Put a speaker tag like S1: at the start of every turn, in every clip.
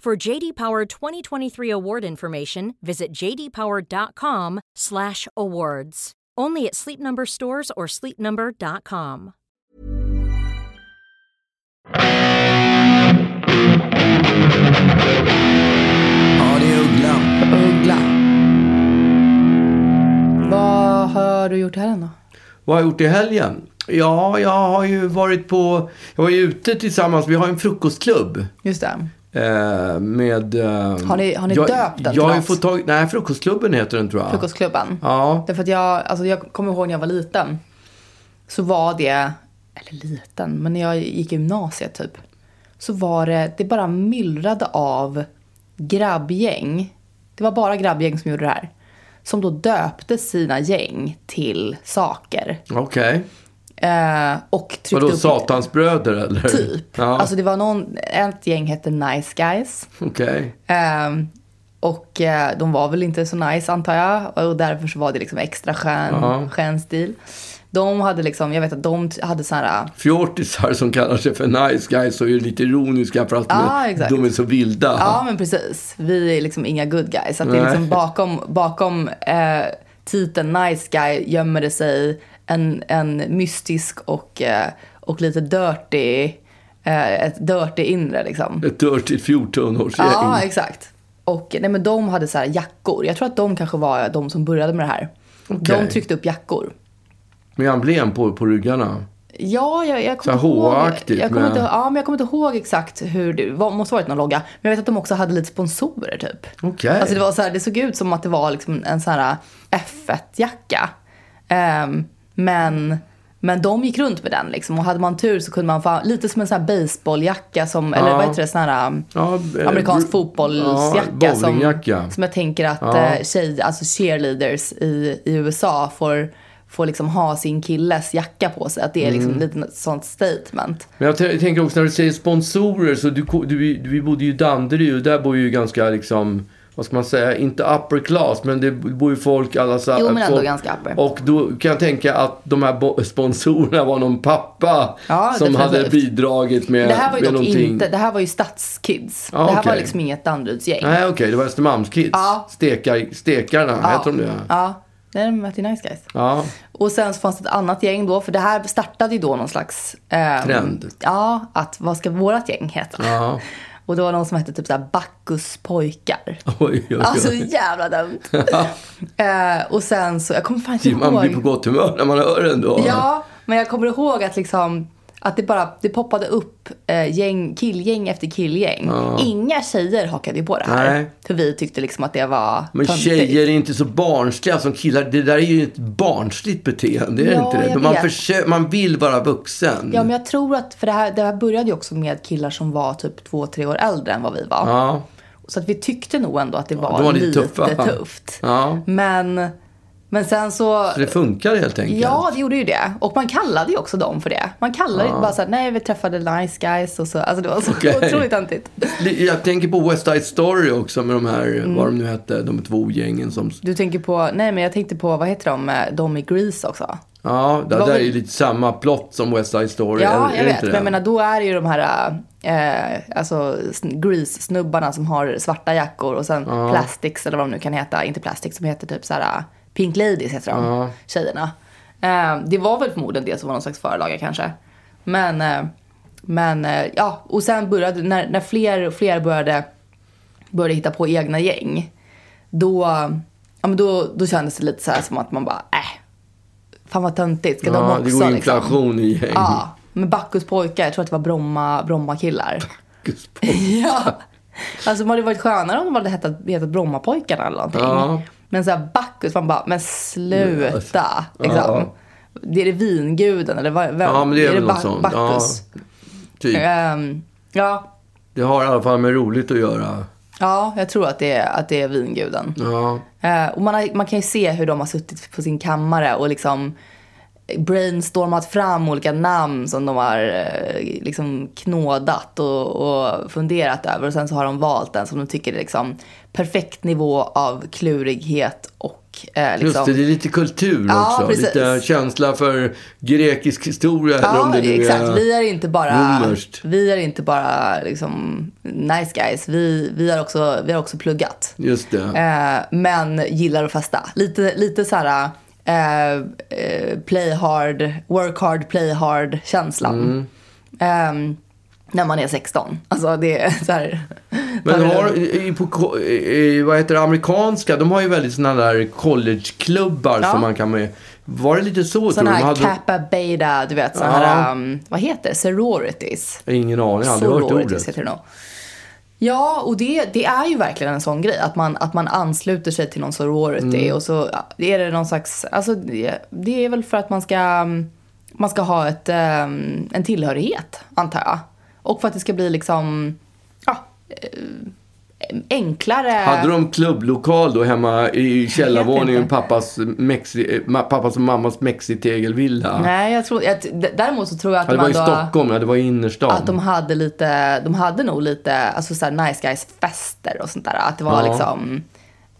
S1: For JD Power 2023 award information, visit jdpower.com/awards. Only at Sleep Number stores or sleepnumber.com.
S2: Ja, det är Uggla.
S3: Uggla. Vad har du gjort här än då?
S2: Vad har jag gjort i helgen? Ja, jag har ju varit på... Jag var ju ute tillsammans. Vi har en frukostklubb.
S3: Just det.
S2: Eh, med... Eh,
S3: Har ni- har ni
S2: jag,
S3: döpt den till
S2: Jag har ju
S3: något?
S2: fått tag... Nej, frukostklubben heter den tror jag.
S3: Frukostklubban.
S2: Ja.
S3: Därför att jag, alltså jag kommer ihåg när jag var liten. Så var det, eller liten, men när jag gick i gymnasiet typ. Så var det, det bara myllrade av grabbgäng. Det var bara grabbgäng som gjorde det här. Som då döpte sina gäng till saker.
S2: Okej.
S3: Eh, och tryckte
S2: Vadå,
S3: upp...
S2: Satans bröder eller?
S3: Typ.
S2: Ja,
S3: Alltså det var någon, ett gäng hette Nice Guys.
S2: okej.
S3: Ehm, och eh, de var väl inte så nice antar jag. Och därför så var det liksom extra skön,
S2: Ja.
S3: skön stil. De hade liksom, jag vet att de t- hade såna här, eh,
S2: Fjortisar som kallar sig för nice guys och är lite ironiska för att de
S3: Ja,
S2: är-
S3: Ah, exakt. Ah.
S2: de är så vilda.
S3: ja men precis, vi är liksom inga good guys. Så att det är
S2: Nej.
S3: liksom bakom, bakom eh, titeln nice guy gömmer det sig en, en mystisk och, eh, och lite dirty, eh, ett dirty inre liksom.
S2: Ett dirtigt 14-årsgäng.
S3: Ja, exakt. Och nej, men de hade så här jackor. Jag tror att de kanske var de som började med det här.
S2: Okej.
S3: De tryckte upp jackor.
S2: Med emblem på, på ryggarna.
S3: Ja, jag, jag kommer
S2: Så
S3: inte
S2: här
S3: ihåg.
S2: HA-aktigt
S3: Jag kommer
S2: med-
S3: inte, ja, men jag kommer inte ihåg exakt hur det var, måste ha varit någon logga. Men jag vet att de också hade lite sponsorer typ.
S2: Okej.
S3: Alltså det var så här, det såg ut som att det var liksom en sån här F1-jacka. Ehm, men, men de gick runt med den liksom. Och hade man tur så kunde man få, lite som en sån här baseballjacka som, eller
S2: Ja.
S3: vad heter det, sån här
S2: Ja, eh,
S3: amerikansk
S2: br-
S3: fotbollsjacka.
S2: ja, bowlingjacka.
S3: som, som jag tänker att eh, tjej, alltså cheerleaders i, i USA får får liksom ha sin killes jacka på sig. Att det är liksom
S2: Mm.
S3: lite något sånt statement.
S2: Men jag t- tänker också när du säger sponsorer så du, ko- du, du, vi bodde ju i Danderyd och där bor ju ganska liksom, vad ska man säga, inte upper class men det bor ju folk alla så
S3: Jo, men ändå
S2: folk,
S3: ganska upper.
S2: Och då kan jag tänka att de här bo- sponsorerna var någon pappa
S3: Ja,
S2: som hade
S3: definitivt.
S2: bidragit med,
S3: det här var ju
S2: med
S3: dock
S2: någonting.
S3: inte, det här var ju stadskids.
S2: Ja,
S3: det här var
S2: okej.
S3: liksom inget Danderydsgäng.
S2: Nej okej, det var Östermalmskids.
S3: Ja.
S2: Stekar, stekarna, heter de det?
S3: Ja, nej de hette ju Nice Guys.
S2: Ja.
S3: Och sen så fanns det ett annat gäng då, för det här startade ju då någon slags... ehm,
S2: Trend.
S3: Ja, att vad ska vårat gäng heta?
S2: Ja.
S3: Och det var någon som hette typ såhär Bacchus pojkar.
S2: Oj, oj, oj.
S3: Alltså jävla dumt. eh, och sen så, jag kommer fan inte
S2: man blir på
S3: ihåg.
S2: gott humör när man hör den då.
S3: Ja, men jag kommer ihåg att liksom att det bara det poppade upp eh, gäng, killgäng efter killgäng. Inga tjejer hakade ju på det här.
S2: Nej.
S3: För vi tyckte liksom att det var
S2: Men
S3: töntigt.
S2: tjejer är inte så barnsliga som killar. Det där är ju ett barnsligt beteende, är det
S3: Ja,
S2: inte det?
S3: jag
S2: Man,
S3: vet.
S2: försö- man vill vara vuxen.
S3: Ja, men jag tror att, för det här, det här började ju också med killar som var typ två, tre år äldre än vad vi var.
S2: Ja.
S3: Så att vi tyckte nog ändå att det var,
S2: de var lite
S3: lite,
S2: tuffa.
S3: tufft.
S2: Ja.
S3: Men, men sen så...
S2: Det funkar helt enkelt.
S3: Ja, det gjorde ju det. Och man kallade ju också dem för det. Man kallade ju bara såhär, nej vi träffade nice guys och så. Alltså det var så
S2: Okej.
S3: otroligt töntigt.
S2: Jag tänker på West Side Story också med de här,
S3: Mm.
S2: vad de nu hette, de två gängen som...
S3: Du tänker på, nej men jag tänkte på, vad heter de, eh, de i Grease också?
S2: Ja, det
S3: Vad
S2: där
S3: var-
S2: är ju lite samma plott som West Side Story.
S3: Ja,
S2: är,
S3: jag
S2: är det
S3: vet.
S2: inte det?
S3: Men jag menar, då är det ju de här eh, alltså, sn- Grease-snubbarna som har svarta jackor och sen Plastics eller vad de nu kan heta. Inte Plastics, som heter typ så här eh, Pink Ladies heter de, tjejerna. Eh, det var väl förmodligen det som var någon slags förlaga kanske. Men, eh, men eh, ja, och sen började, när, när fler och fler började började hitta på egna gäng, då, ja, men då, då kändes det lite så här som att man bara, äh, fan vad töntigt, ska de
S2: Ja,
S3: också
S2: det går
S3: liksom?
S2: inflation i gäng.
S3: Ja, men Bacchus pojkar, jag tror att det var Bromma, Bromma killar. ja. Alltså det hade varit skönare om de hade hetat, hetat Brommapojkarna eller någonting.
S2: Ja.
S3: Men så här Bacchus, man bara, men sluta.
S2: Ja.
S3: Liksom. Det är det vinguden eller vad, vem?
S2: Ja, men det är väl något
S3: Ba-
S2: sånt.
S3: Bacchus?
S2: Typ.
S3: Ehm, ja.
S2: Det har i alla fall med roligt att göra.
S3: ja, jag tror att det är, att det är vinguden.
S2: Ja.
S3: Eh, och man, har, man kan ju se hur de har suttit på sin kammare och liksom brainstormat fram olika namn som de har eh, liksom knådat och, och funderat över. Och sen så har de valt den som de tycker är liksom perfekt nivå av klurighet och eh, liksom...
S2: Just det, det är lite kultur
S3: Ja,
S2: också.
S3: precis.
S2: Lite känsla för grekisk historia. eller om det nu
S3: exakt.
S2: Är...
S3: Vi är inte bara,
S2: romerskt.
S3: vi är inte bara liksom, nice guys. Vi, vi, har också, vi har också pluggat.
S2: Just det.
S3: Eh, men gillar att festa. Lite, lite så här eh, eh, play hard, work hard, play hard känslan.
S2: Mm.
S3: Ehm, när man är 16. Alltså det är så här.
S2: Men har, i, på, ko- i, vad heter det, amerikanska, de har ju väldigt sådana där collegeklubbar
S3: Ja.
S2: som man kan med. Var det lite så tror
S3: Sån
S2: du? De
S3: här
S2: hade...
S3: kappa beta, du vet sån
S2: Ja.
S3: här, ehm, vad heter det? Sororities.
S2: Ingen aning, jag har aldrig hört
S3: Sororities
S2: ordet.
S3: heter det nog. Ja, och det, det är ju verkligen en sån grej. Att man, att man ansluter sig till någon sorority.
S2: Mm.
S3: Och så ja, är det någon slags... Alltså, det, det är väl för att man ska, mm, man ska ha ett, ehm, en tillhörighet, antar jag. Och för att det ska bli liksom... Ja, eh, enklare...
S2: Hade de klubblokal då hemma i källarvåningen i
S3: inte.
S2: pappas, mexi, ma- pappas och mammas mexitegelvilla?
S3: Nej, jag tror... Jag, däremot så tror jag att
S2: Ja, det
S3: de
S2: var i
S3: ändå...
S2: Stockholm, ja, det var i innerstan.
S3: Att de hade lite, de hade nog lite, alltså såhär nice guys fester och sånt där. Att det var
S2: Ja.
S3: liksom,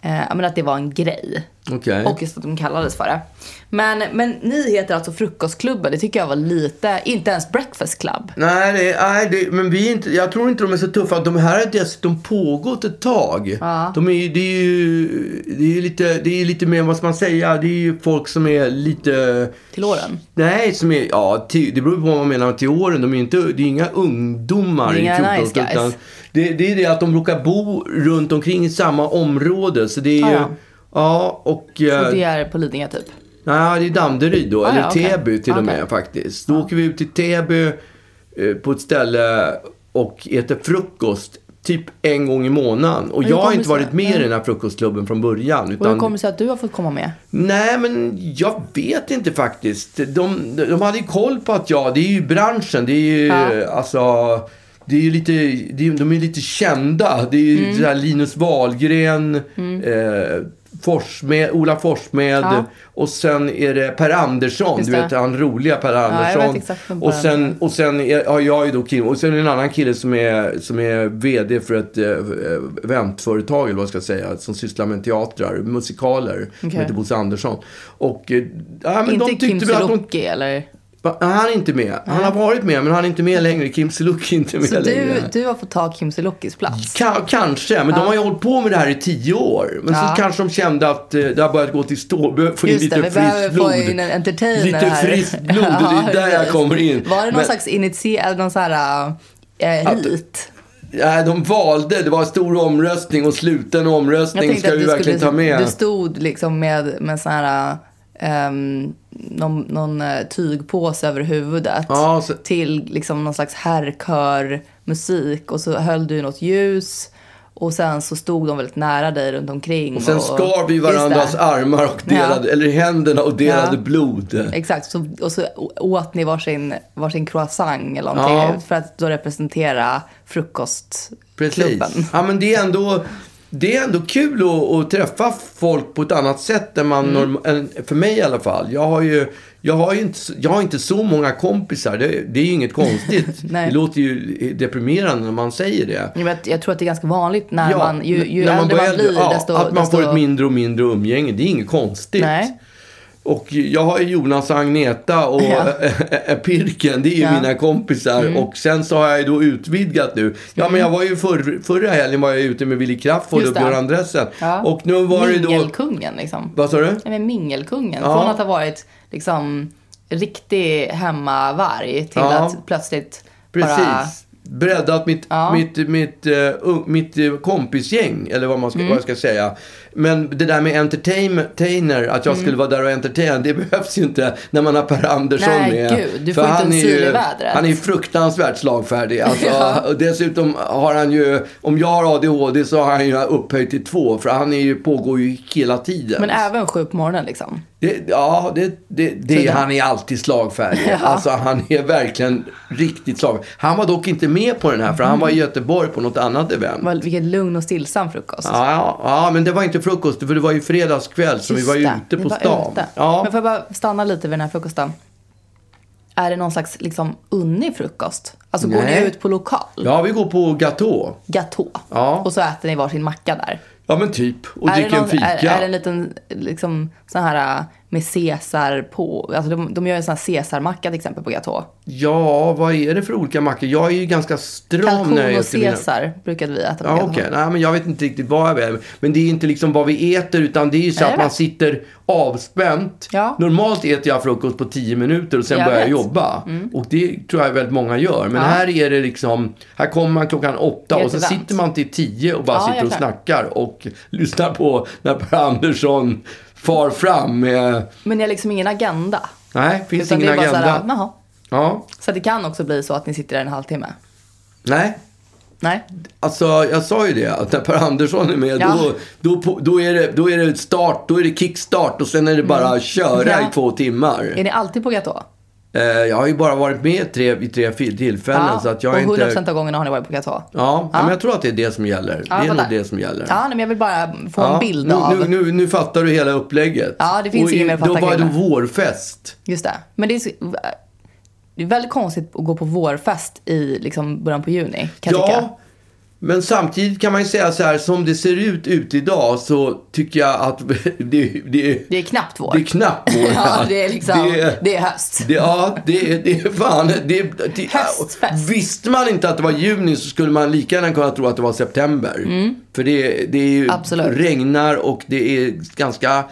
S3: eh, ja, men att det var en grej.
S2: Okej.
S3: Och just att de kallades för det. Men, men ni heter alltså Frukostklubben, det tycker jag var lite, inte ens Breakfast Club.
S2: Nej, det, nej det, men vi är inte, jag tror inte de är så tuffa. De här har dessutom pågått ett tag.
S3: Ja.
S2: De är, ju- det är ju det är ju lite, det är lite mer, vad ska man säga, det är ju folk som är lite...
S3: Till åren?
S2: Nej, som är, ja, till, det beror på vad man menar med till åren. De är ju inte, det är inga ungdomar
S3: Det är inga
S2: i 14
S3: nice guys.
S2: utan det, det är det att de råkar bo runt omkring i samma område. Så det är
S3: Ah,
S2: ju,
S3: ja.
S2: ja, och...
S3: Och
S2: eh,
S3: det är på Lidingö typ?
S2: Nej, det är Danderyd då.
S3: Ah,
S2: eller
S3: ja, okej.
S2: Täby till och
S3: Okej.
S2: med faktiskt. Då åker vi ut till Täby eh, på ett ställe och äter frukost typ en gång i månaden. Och
S3: Hur
S2: jag har
S3: kommer
S2: inte
S3: det sig?
S2: varit med i den här frukostklubben från början.
S3: Och hur
S2: Utan,
S3: kommer det sig att du har fått komma med?
S2: Nej, men jag vet inte faktiskt. De, de hade ju koll på att jag, det är ju branschen, det är ju
S3: Ja.
S2: alltså... Det är ju lite, det är, de är lite kända. Det är ju
S3: Mm.
S2: så här Linus Wahlgren, eh, Forsmed, Ola Forssmed
S3: Ja.
S2: och sen är det Per Andersson.
S3: Just
S2: Du
S3: det.
S2: vet han roliga Per Andersson.
S3: vet exakt vem Per
S2: och sen,
S3: Andersson
S2: och sen är, ja, jag är då Kim. Och sen är det en annan kille som är, som är VD för ett eh, eventföretag eller vad jag ska säga. Som sysslar med teatrar, musikaler. Som
S3: Okej.
S2: heter Bosse Andersson. Och eh, ja, men de
S3: inte Kim
S2: tyckte väl att de
S3: Sulocki eller?
S2: Va, Han är inte med. Han har varit med, men han är inte med längre. Kim Sulocki är inte med
S3: Så
S2: längre.
S3: du, du har fått ta Kim Sulockis plats?
S2: Ka- kanske, men de har ju hållit på med det här i tio år. Men
S3: Ja.
S2: så kanske de kände att eh, det har börjat gå till stå. Vi behöver få in
S3: Just
S2: lite
S3: det, vi behöver
S2: friskt
S3: få
S2: blod.
S3: in en entertainer
S2: Lite
S3: här.
S2: friskt blod, och
S3: Ja,
S2: det är där jag
S3: precis.
S2: kommer in.
S3: Var det någon
S2: Men-
S3: slags initierad, någon sån här eh,
S2: Att-
S3: hit?
S2: Nej, de valde. Det var en stor omröstning och sluten omröstning ska vi verkligen ta med.
S3: du stod liksom med, med sån här, ehm, någon, någon eh, tygpåse över huvudet
S2: Ja, så-
S3: till liksom någon slags herrkörmusik och så höll du i något ljus och sen så stod de väldigt nära dig runt omkring.
S2: Och sen skar vi varandras
S3: Just det.
S2: armar och delade,
S3: Ja.
S2: eller händerna och delade
S3: Ja.
S2: blod.
S3: Exakt, så, och så å- åt ni varsin, varsin croissant eller någonting
S2: Ja.
S3: för att då representera frukostklubben.
S2: Precis. Ja, men det är ändå, det är ändå kul att, att träffa folk på ett annat sätt än
S3: Mm.
S2: man norm- än, För mig i alla fall. Jag har ju, jag har ju inte, s- jag har inte så många kompisar. Det, det är ju inget konstigt.
S3: Nej.
S2: det låter ju deprimerande när man säger det.
S3: Jag, vet, jag tror att det är ganska vanligt när man, ju, ju
S2: när
S3: äldre
S2: börjar-
S3: man blir,
S2: ja,
S3: desto...
S2: Att man
S3: desto...
S2: får ett mindre och mindre umgänge, det är inget konstigt.
S3: Nej.
S2: Och jag har ju Jonas och Agneta och
S3: Ja.
S2: Pirken, det är ju
S3: Ja. Mm.
S2: mina kompisar. Och sen så har jag ju då utvidgat nu. Ja, men jag var ju förr, förra helgen var jag ute med Willy Crafoord
S3: Just
S2: och
S3: det.
S2: Björn Andressen.
S3: Ja.
S2: Och nu var det då...
S3: Mingelkungen liksom.
S2: Vad sa du?
S3: Nej men mingelkungen.
S2: Ja.
S3: Från att ha varit liksom riktig hemmavarg till
S2: Ja.
S3: att plötsligt
S2: Precis.
S3: bara
S2: breddat mitt,
S3: Ja.
S2: mitt, mitt, eh, u- mitt eh, kompisgäng, eller vad
S3: Mm.
S2: man ska, vad jag ska säga. Men det där med entertainer, att jag
S3: Mm.
S2: skulle vara där och entertaina, det behövs ju inte när man har Per Andersson
S3: Nej,
S2: med.
S3: gud, du får inte
S2: han
S3: en
S2: är
S3: syl i
S2: ju-
S3: vädret.
S2: Han är ju fruktansvärt slagfärdig. Alltså,
S3: Ja.
S2: och Dessutom har han ju, om jag har ADHD så har han ju upphöjt till två, för han är ju, pågår ju hela tiden.
S3: Men även sju på morgonen liksom.
S2: Det, ja, det, det, det,
S3: Tydligen.
S2: han är alltid slagfärdig. Alltså han är verkligen riktigt slagfärdig. Han var dock inte med på den här, för han var i Göteborg på något annat event.
S3: Mm. Vad- Vilken lugn och stillsam frukost.
S2: Ja, ja, ja, men det var inte frukost, för det var ju fredagskväll, så vi
S3: Just
S2: var ju
S3: det,
S2: ute
S3: ni
S2: på
S3: var
S2: stan.
S3: ute.
S2: Ja.
S3: Men får jag bara stanna lite vid den här frukosten? Är det någon slags liksom unnig frukost? Alltså går ni
S2: Nej.
S3: ut på lokal?
S2: ja, vi går på Gatå.
S3: Gatå?
S2: Ja.
S3: Och så äter ni varsin macka där?
S2: Ja, men typ. Och
S3: är, det
S2: dricker en fika.
S3: är, är det en liten liksom, sån här äh, med Caesar på? Alltså de, de gör ju en sån här Caesarmacka till exempel på Gatå.
S2: Ja, vad är det för olika mackor? Jag är ju ganska stram när jag
S3: Kalkon och
S2: äter mina-
S3: Caesar brukade vi äta på
S2: Ja,
S3: Gatå.
S2: okej. Nej, men jag vet inte riktigt vad jag vill. Men det är inte liksom vad vi äter, utan det är ju så
S3: Nej,
S2: att
S3: jag
S2: man
S3: vet.
S2: sitter avspänt.
S3: Ja.
S2: Normalt äter jag frukost på 10 minuter och sen
S3: Jag
S2: börjar jag
S3: vet. Mm.
S2: jobba. Och det tror jag väldigt många gör. Men
S3: Ja.
S2: här är det liksom, här kommer man klockan åtta
S3: Det är
S2: och så
S3: ett event.
S2: sitter man till 10 och bara
S3: Ja,
S2: sitter
S3: jag
S2: och
S3: kan.
S2: snackar och lyssnar på när Per Andersson far fram med,
S3: Men ni har liksom ingen agenda?
S2: nej, finns
S3: Utan
S2: ingen
S3: det är bara
S2: agenda.
S3: så här, jaha.
S2: Ja,
S3: Så det kan också bli så att ni sitter där en halvtimme?
S2: nej.
S3: Nej?
S2: Alltså, jag sa ju det, att när Per Andersson är med,
S3: Ja.
S2: då, då, på- då, är det, då är det start, då är det kickstart och sen är det bara att köra
S3: Mm. Ja.
S2: i två timmar.
S3: Är ni alltid på Gatå?
S2: Eh, jag har ju bara varit med tre, i tre fil- tillfällen, så att jag
S3: och
S2: är
S3: 100
S2: inte...
S3: av gångerna har ni varit på Gatå?
S2: Ja,
S3: Ja.
S2: men jag tror att det är det som gäller.
S3: Ja,
S2: det är
S3: jag
S2: nog
S3: fattar.
S2: det som gäller.
S3: Ja, nej, men jag vill bara få
S2: Ja,
S3: en bild
S2: nu,
S3: av.
S2: nu, nu, nu fattar du hela upplägget.
S3: Ja, det finns
S2: Och
S3: ingen
S2: i-
S3: mer att fatta
S2: Då var det
S3: kring det.
S2: vårfest.
S3: Just det. Men det är, så, det är väldigt konstigt att gå på vårfest i liksom början på juni, kan jag tycka.
S2: Ja, men samtidigt kan man ju säga så här, som det ser ut ute idag så tycker jag att det, det,
S3: Det är knappt vår.
S2: Det är knappt vår
S3: ja,
S2: här.
S3: det är liksom, det
S2: Det-
S3: är, höst.
S2: Det, ja, det, det är fan... Det, det,
S3: Höstfest.
S2: visste man inte att det var juni så skulle man lika gärna kunna tro att det var september. För det, det är ju
S3: Mm. Absolut.
S2: regnar och det är ganska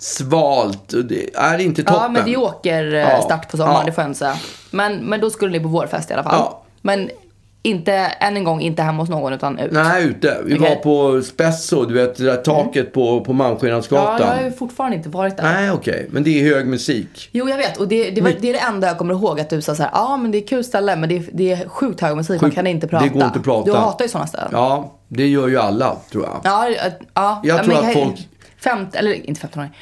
S2: svalt. och Det är inte toppen.
S3: Ja, men det är
S2: Ja.
S3: åkerstart på sommaren,
S2: Ja.
S3: det får jag inte säga. Men, men då skulle ni på vårfest i alla fall.
S2: Ja.
S3: Men inte, än en gång, inte hemma hos någon utan ut.
S2: Nej, ute. Vi
S3: Okej.
S2: var på Spesso, du vet det där taket på, på
S3: ja, jag har
S2: Malmskillnadsgatan.
S3: ju fortfarande inte varit där.
S2: Nej, okej. Men det är hög musik.
S3: Jo, jag vet. Och det, det, var, det är det enda jag kommer ihåg att du sa så här, ja men det är kul ställe, men det är, det är sjukt hög musik, man
S2: Sjukt-
S3: kan inte prata.
S2: det går inte att prata.
S3: Du hatar ju sådana ställen.
S2: Ja, det gör ju alla, tror jag.
S3: Ja, att- ja.
S2: Jag
S3: ja,
S2: tror
S3: men
S2: att
S3: kan-
S2: folk-
S3: Femt, eller inte 15-åringar.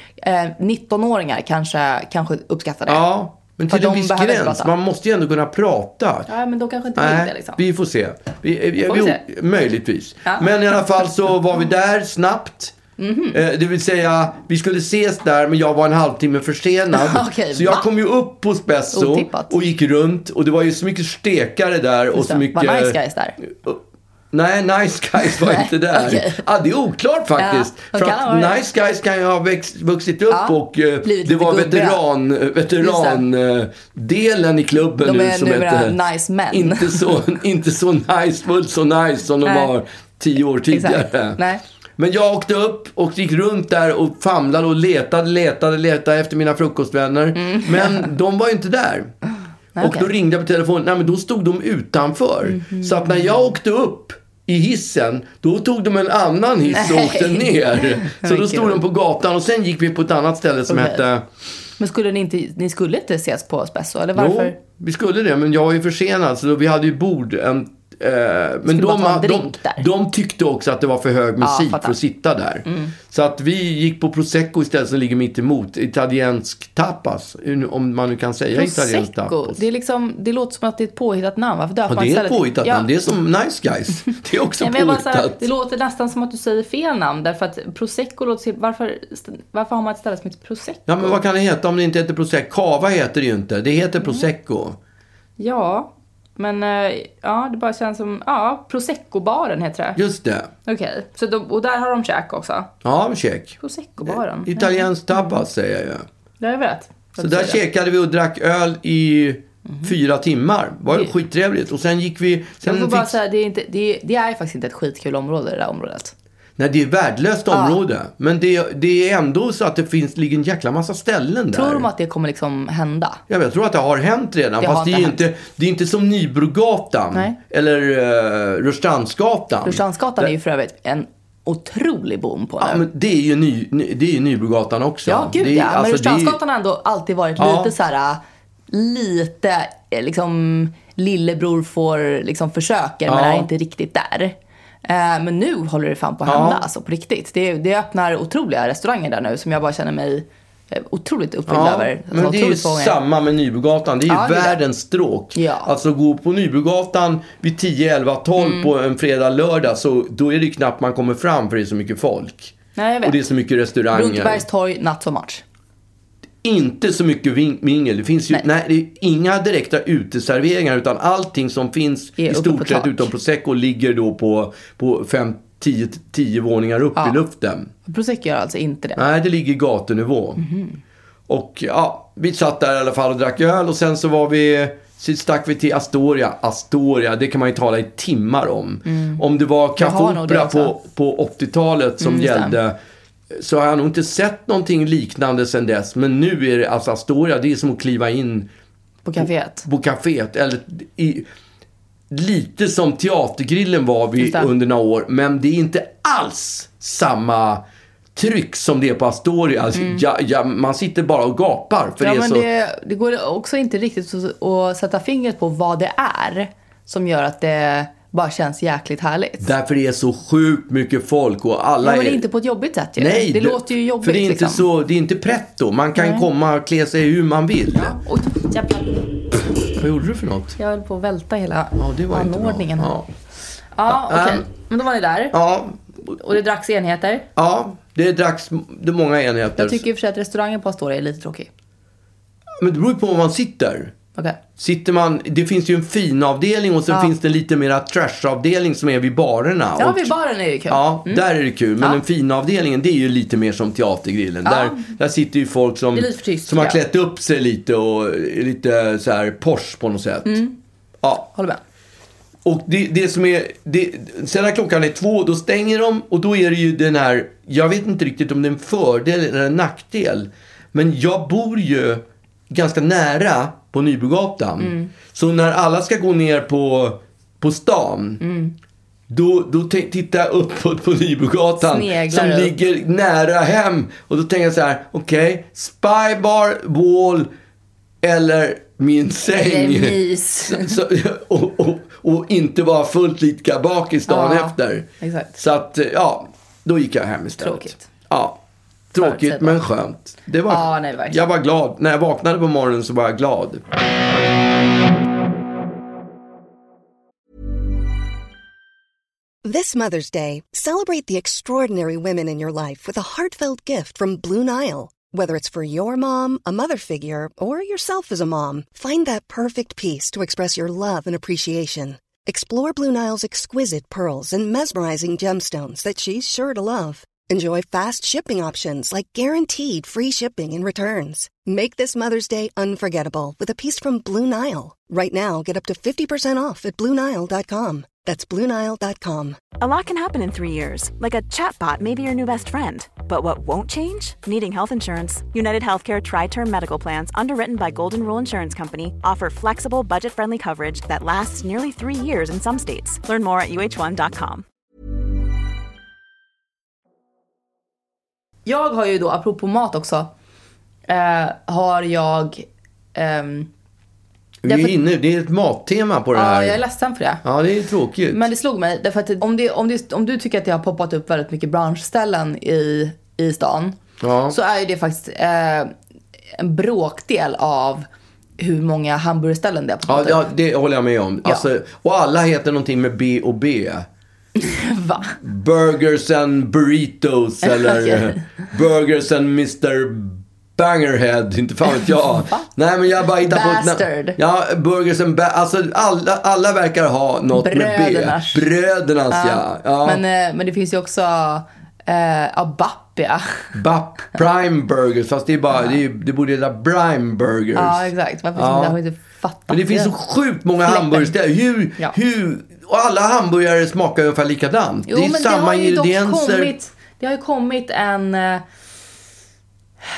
S3: Eh, 19-åringar kanske, kanske uppskattar det.
S2: Ja, men
S3: För
S2: till en
S3: de
S2: viss
S3: behöver inte
S2: gräns.
S3: prata.
S2: Man måste ju ändå kunna prata.
S3: Ja, men då kanske inte vill
S2: Nej,
S3: det liksom.
S2: vi får se. Vi, vi,
S3: Får vi
S2: vi,
S3: se?
S2: Möjligtvis.
S3: Ja. Mhm.
S2: Men i alla fall så var vi där snabbt. Eh, Det vill säga, vi skulle ses där men jag var en halvtimme försenad.
S3: Okej,
S2: så jag
S3: va?
S2: kom ju upp på Spesso
S3: Otippat.
S2: och gick runt. Och det var ju så mycket stekare där och
S3: Just
S2: så
S3: det.
S2: mycket...
S3: Var Nice Guys där?
S2: Nej, Nice Guys var
S3: Nej,
S2: inte där.
S3: okej.
S2: Ah, det är oklart faktiskt.
S3: Ja, de
S2: för
S3: kan
S2: att
S3: ha varit där.
S2: Nice Guys kan ju ha växt, vuxit upp
S3: Ja,
S2: och eh,
S3: blivit
S2: det
S3: lite
S2: var
S3: gubbiga.
S2: veteran, eh, veterandelen i klubben
S3: De
S2: nu
S3: är
S2: som
S3: numera
S2: hette...
S3: nice men.
S2: Inte så, inte så nice, fullt så nice som de
S3: Nej.
S2: var tio år tidigare.
S3: Exakt. Nej.
S2: Men jag åkte upp och gick runt där och famlade och letade, letade, letade efter mina frukostvänner. Men de var ju inte där.
S3: Mm. Nej,
S2: och då
S3: okej. Mhm.
S2: ringde jag på telefonen. Nej, men då stod de utanför. Så att när jag åkte upp i hissen, då tog de en annan hiss och
S3: Nej.
S2: åkte ner. Så
S3: Men
S2: då stod
S3: gud.
S2: de på gatan och sen gick vi på ett annat ställe som
S3: Okej.
S2: hette...
S3: Men skulle ni inte, ni skulle inte ses på Spesso? Eller varför?
S2: Jo, vi skulle det, men jag var ju försenad så då, vi hade ju bord. En, eh, men
S3: bara
S2: de,
S3: ta en
S2: de,
S3: drink där.
S2: de tyckte också att det var för hög musik
S3: fattar. Mm.
S2: för att sitta där. Så att vi gick på prosecco istället som ligger mitt emot. Italiensk tapas, om man nu kan säga italiensk
S3: Prosecco.
S2: tapas.
S3: Det, är liksom, det låter som att det är ett påhittat namn. Varför döper
S2: Ja,
S3: man
S2: det är ett
S3: istället-
S2: påhittat
S3: Ja.
S2: namn. Det är som Nice Guys. Det är också
S3: Nej, men jag bara så här,
S2: påhittat.
S3: det låter nästan som att du säger fel namn därför att prosecco låter till, varför, varför har man ett ställe som heter prosecco?
S2: Ja, men vad kan det heta om det inte heter prosecco? Cava heter det ju inte. Det heter
S3: Mm.
S2: prosecco.
S3: Ja, men eh, ja, det bara känns som, ja, Prosecco-baren heter det.
S2: Just det.
S3: Okej, så de, och där har de käk också.
S2: Ja, check.
S3: Prosecco-baren.
S2: Italiensk tapas säger jag ju.
S3: Ja, jag vet.
S2: Eh, Så där käkade vi och drack öl i fyra timmar. Det var skittrevligt. Och sen gick vi... Sen
S3: Mhm. Jag får bara
S2: fick-
S3: säga, det är, inte, det, är, det är faktiskt inte ett skitkul område det där området.
S2: Nej, det är ett värdelöst område. Men det, det är ändå så att det finns, ligger en jäkla massa ställen där.
S3: Tror de att det kommer liksom hända?
S2: Ja, men jag tror att det har hänt redan.
S3: Det har
S2: fast det är,
S3: inte
S2: ju
S3: hänt.
S2: inte, det är inte som Nybrogatan.
S3: Nej.
S2: Eller uh, Rörstrandsgatan.
S3: Rörstrandsgatan är ju för övrigt en otrolig boom på nu.
S2: Ja, men det är ju, ny, ny, det är ju Nybrogatan också.
S3: Ja, gud
S2: det är,
S3: ja. men
S2: alltså, det är-
S3: Rörstrandsgatan har ändå alltid varit
S2: Ja.
S3: lite så här, äh, lite eh, liksom lillebror får liksom försöker men
S2: Ja.
S3: är inte riktigt där. Eh, Men nu håller det fan på att hända
S2: Ja.
S3: alltså, på riktigt. Det, det öppnar otroliga restauranger där nu som jag bara känner mig eh, otroligt uppfylld över. Alltså,
S2: Men det är ju
S3: otroligt många.
S2: samma med Nybrogatan. Det är ju
S3: Ja, det är det.
S2: världens stråk.
S3: Ja.
S2: Alltså gå på Nybrogatan vid 10, 11, 12
S3: Mm.
S2: på en fredag, lördag. Så då är det ju knappt man kommer fram för det är så mycket folk.
S3: Nej, jag vet.
S2: Och det är så mycket restauranger.
S3: Brunkebergs torg, not so much.
S2: Inte så mycket ving- mingel. Det finns ju nej.
S3: Nej.
S2: det är inga direkta uteserveringar. Utan allting som finns
S3: Är
S2: i
S3: uppe på
S2: stort sett
S3: tak.
S2: utom Prosecco ligger då på 5-10 tio, tio våningar upp
S3: Ja.
S2: i luften.
S3: Prosecco gör alltså inte det.
S2: Nej, det ligger i gatunivå.
S3: Mhm.
S2: Och ja, vi satt där i alla fall och drack öl och sen så var vi så stack vi till Astoria. Astoria, det kan man ju tala i timmar om. Om det var
S3: Mm. Jag har
S2: Café
S3: nog det
S2: Opera
S3: också.
S2: på, på 80-talet som
S3: Mm, just det.
S2: gällde så har jag nog inte sett någonting liknande sen dess. Men nu är det, alltså Astoria, det är som att kliva in
S3: På kaféet.
S2: på kaféet. Eller i, lite som Teatergrillen var
S3: Just
S2: vi
S3: det.
S2: under några år. Men det är inte alls samma tryck som det är på Astoria. Alltså, ja, ja, man sitter bara och gapar. För
S3: Mm. ja,
S2: det
S3: men
S2: är så...
S3: det, det går också inte riktigt att, att sätta fingret på vad det är som gör att det bara känns jäkligt härligt.
S2: Därför det är så sjukt mycket folk och alla
S3: Ja, men det
S2: är...
S3: är inte på ett jobbigt sätt ju.
S2: Nej,
S3: det, låter ju jobbigt
S2: För det är inte,
S3: liksom.
S2: så, det är inte pretto. Man kan komma och klä sig hur man vill.
S3: Oj, jävlar.
S2: Vad gjorde du för något?
S3: Jag höll på att välta hela
S2: Ja, det var inte bra.
S3: anordningen här.
S2: Ja.
S3: Ja, okej.
S2: Ähm.
S3: Men då var ni där.
S2: Ja,
S3: Och det dracks enheter.
S2: ja, det dracks det är många enheter.
S3: Jag tycker i och för sig att restaurangen på Astoria är lite tråkig.
S2: Men det beror ju på var man sitter.
S3: Okej.
S2: Sitter man, det finns ju en fin avdelning och sen
S3: Ja.
S2: finns det lite mera trash-avdelning som är vid barerna.
S3: Ja,
S2: och,
S3: vid baren är det kul.
S2: ja där är det kul. Men
S3: Ja.
S2: den fina avdelningen det är ju lite mer som teatergrillen.
S3: Ja.
S2: Där, där sitter ju folk som,
S3: Det är lite för tyst,
S2: som har
S3: ja.
S2: klätt upp sig lite och är lite så här Porsche på något sätt.
S3: Mm.
S2: Ja.
S3: Håller med.
S2: Och det, det som är, det, sen när klockan är två, då stänger de och då är det ju den här, jag vet inte riktigt om det är en fördel eller en nackdel. Men jag bor ju ganska nära på Nybrogatan.
S3: Mm.
S2: Så när alla ska gå ner på, på stan,
S3: Mm.
S2: då, då t- tittar jag uppåt på Nybrogatan
S3: Sneglar
S2: som
S3: upp.
S2: ligger nära hem. Och då tänker jag så här, okej, spybar, wall eller min säng.
S3: Eller mys.
S2: Så, och, och, och inte vara fullt lika bakis dagen
S3: Ja,
S2: efter.
S3: exakt.
S2: Så att, eh, ja, då gick jag hem istället.
S3: Tråkigt.
S2: Ja. Tråkigt
S3: Förutsägbart.
S2: men skönt. Det var,
S3: Ja, nej, verkligen.
S2: jag var glad. När jag vaknade på morgonen så var jag glad.
S4: This Mother's Day, celebrate the extraordinary women in your life with a heartfelt gift from Blue Nile. Whether it's for your mom, a mother figure, or yourself as a mom, find that perfect piece to express your love and appreciation. Explore Blue Nile's exquisite pearls and mesmerizing gemstones that she's sure to love. Enjoy fast shipping options like guaranteed free shipping and returns. Make this Mother's Day unforgettable with a piece from Blue Nile. Right now, get up to 50% off at BlueNile.com. That's BlueNile.com.
S5: A lot can happen in three years, like a chatbot may be your new best friend. But what won't change? Needing health insurance. United Healthcare Tri Term Medical Plans, underwritten by Golden Rule Insurance Company, offer flexible, budget friendly coverage that lasts nearly three years in some states. Learn more at uh1.com.
S3: Jag har ju då, apropå mat också, eh, har jag... ehm,
S2: Vi
S3: Därför-
S2: är inne, det är ett mattema på det
S3: ja,
S2: här.
S3: jag är ledsen för det.
S2: Ja, det är tråkigt.
S3: Men det slog mig, därför att om, det, om, det, om du tycker att det har poppat upp väldigt mycket branschställen i, i stan.
S2: Ja.
S3: Så är ju det faktiskt eh, en bråkdel av hur många hamburgerställen det har
S2: ja,
S3: poppat
S2: ja,
S3: upp.
S2: det håller jag med om.
S3: Ja.
S2: Alltså, och alla heter någonting med B och B.
S3: Va?
S2: Burgers and burritos eller
S3: Okej.
S2: Burgers and Mr Bangerhead, inte fan vet jag. Nej men jag bara hittar på... ett namn.
S3: Bastard.
S2: Ja, Burgers and... Ba- alltså alla, alla verkar ha något med
S3: Brödernas.
S2: B. Brödernas. ja. ja.
S3: Men, eh, men det finns ju också eh, ja, Bappia.
S2: Bap, Prime Burgers, fast det är bara... Det, är, det borde heta Prime Burgers.
S3: Ja, exakt. Varför
S2: Ja.
S3: ja. har inte fattat
S2: Men det finns så sjukt många
S3: Fläppen.
S2: hamburgerställen. Hur,
S3: Ja.
S2: hur Och alla hamburgare smakar ungefär likadant.
S3: Jo,
S2: det är
S3: men
S2: samma
S3: det har ju dock
S2: ingredienser.
S3: kommit, det har ju kommit en... eh,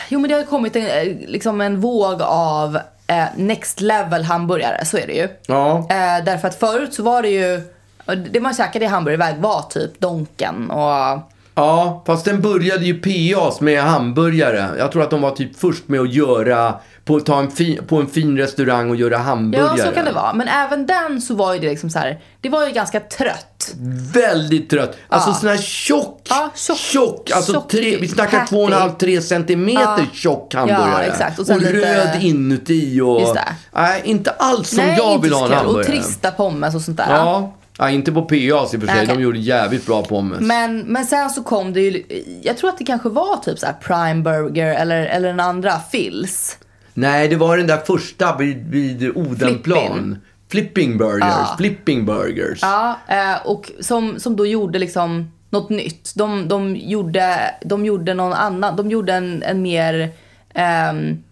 S3: Jo, men det har ju kommit en, eh, liksom en våg av eh, next level hamburgare, så är det ju.
S2: Ja.
S3: Eh, därför att förut så var det ju, och det man käkade i hamburgerväg var typ Donken och...
S2: Ja, fast den började ju PAs med hamburgare. Jag tror att de var typ först med att göra, på, ta en fin, på en fin restaurang och göra hamburgare.
S3: Ja, så kan det vara. Men även den så var ju det liksom så här, det var ju ganska trött.
S2: Väldigt trött. Alltså sån här tjock,
S3: Ja, tjock.
S2: alltså
S3: Tjock
S2: tre, vi snackar
S3: patty.
S2: två och en halv, tre centimeter tjock hamburgare.
S3: Ja, exakt. Och sen lite-
S2: röd inuti och...
S3: Just det.
S2: Nej, inte alls som jag
S3: inte
S2: vill
S3: så
S2: ha en
S3: kul.
S2: hamburgare.
S3: Och trista pommes och sånt där.
S2: Ja. ja, inte på PAs i och för sig.
S3: Nej, okej.
S2: De gjorde jävligt bra pommes.
S3: Men, men sen så kom det ju, jag tror att det kanske var typ så här Prime Burger eller, eller den andra Phil's.
S2: Nej, det var den där första vid, vid Odenplan. Flipping burgers. Flipping burgers.
S3: Ja, eh, och som, som då gjorde liksom något nytt. De, de, gjorde, de gjorde någon annan, de gjorde en, en mer, ehm,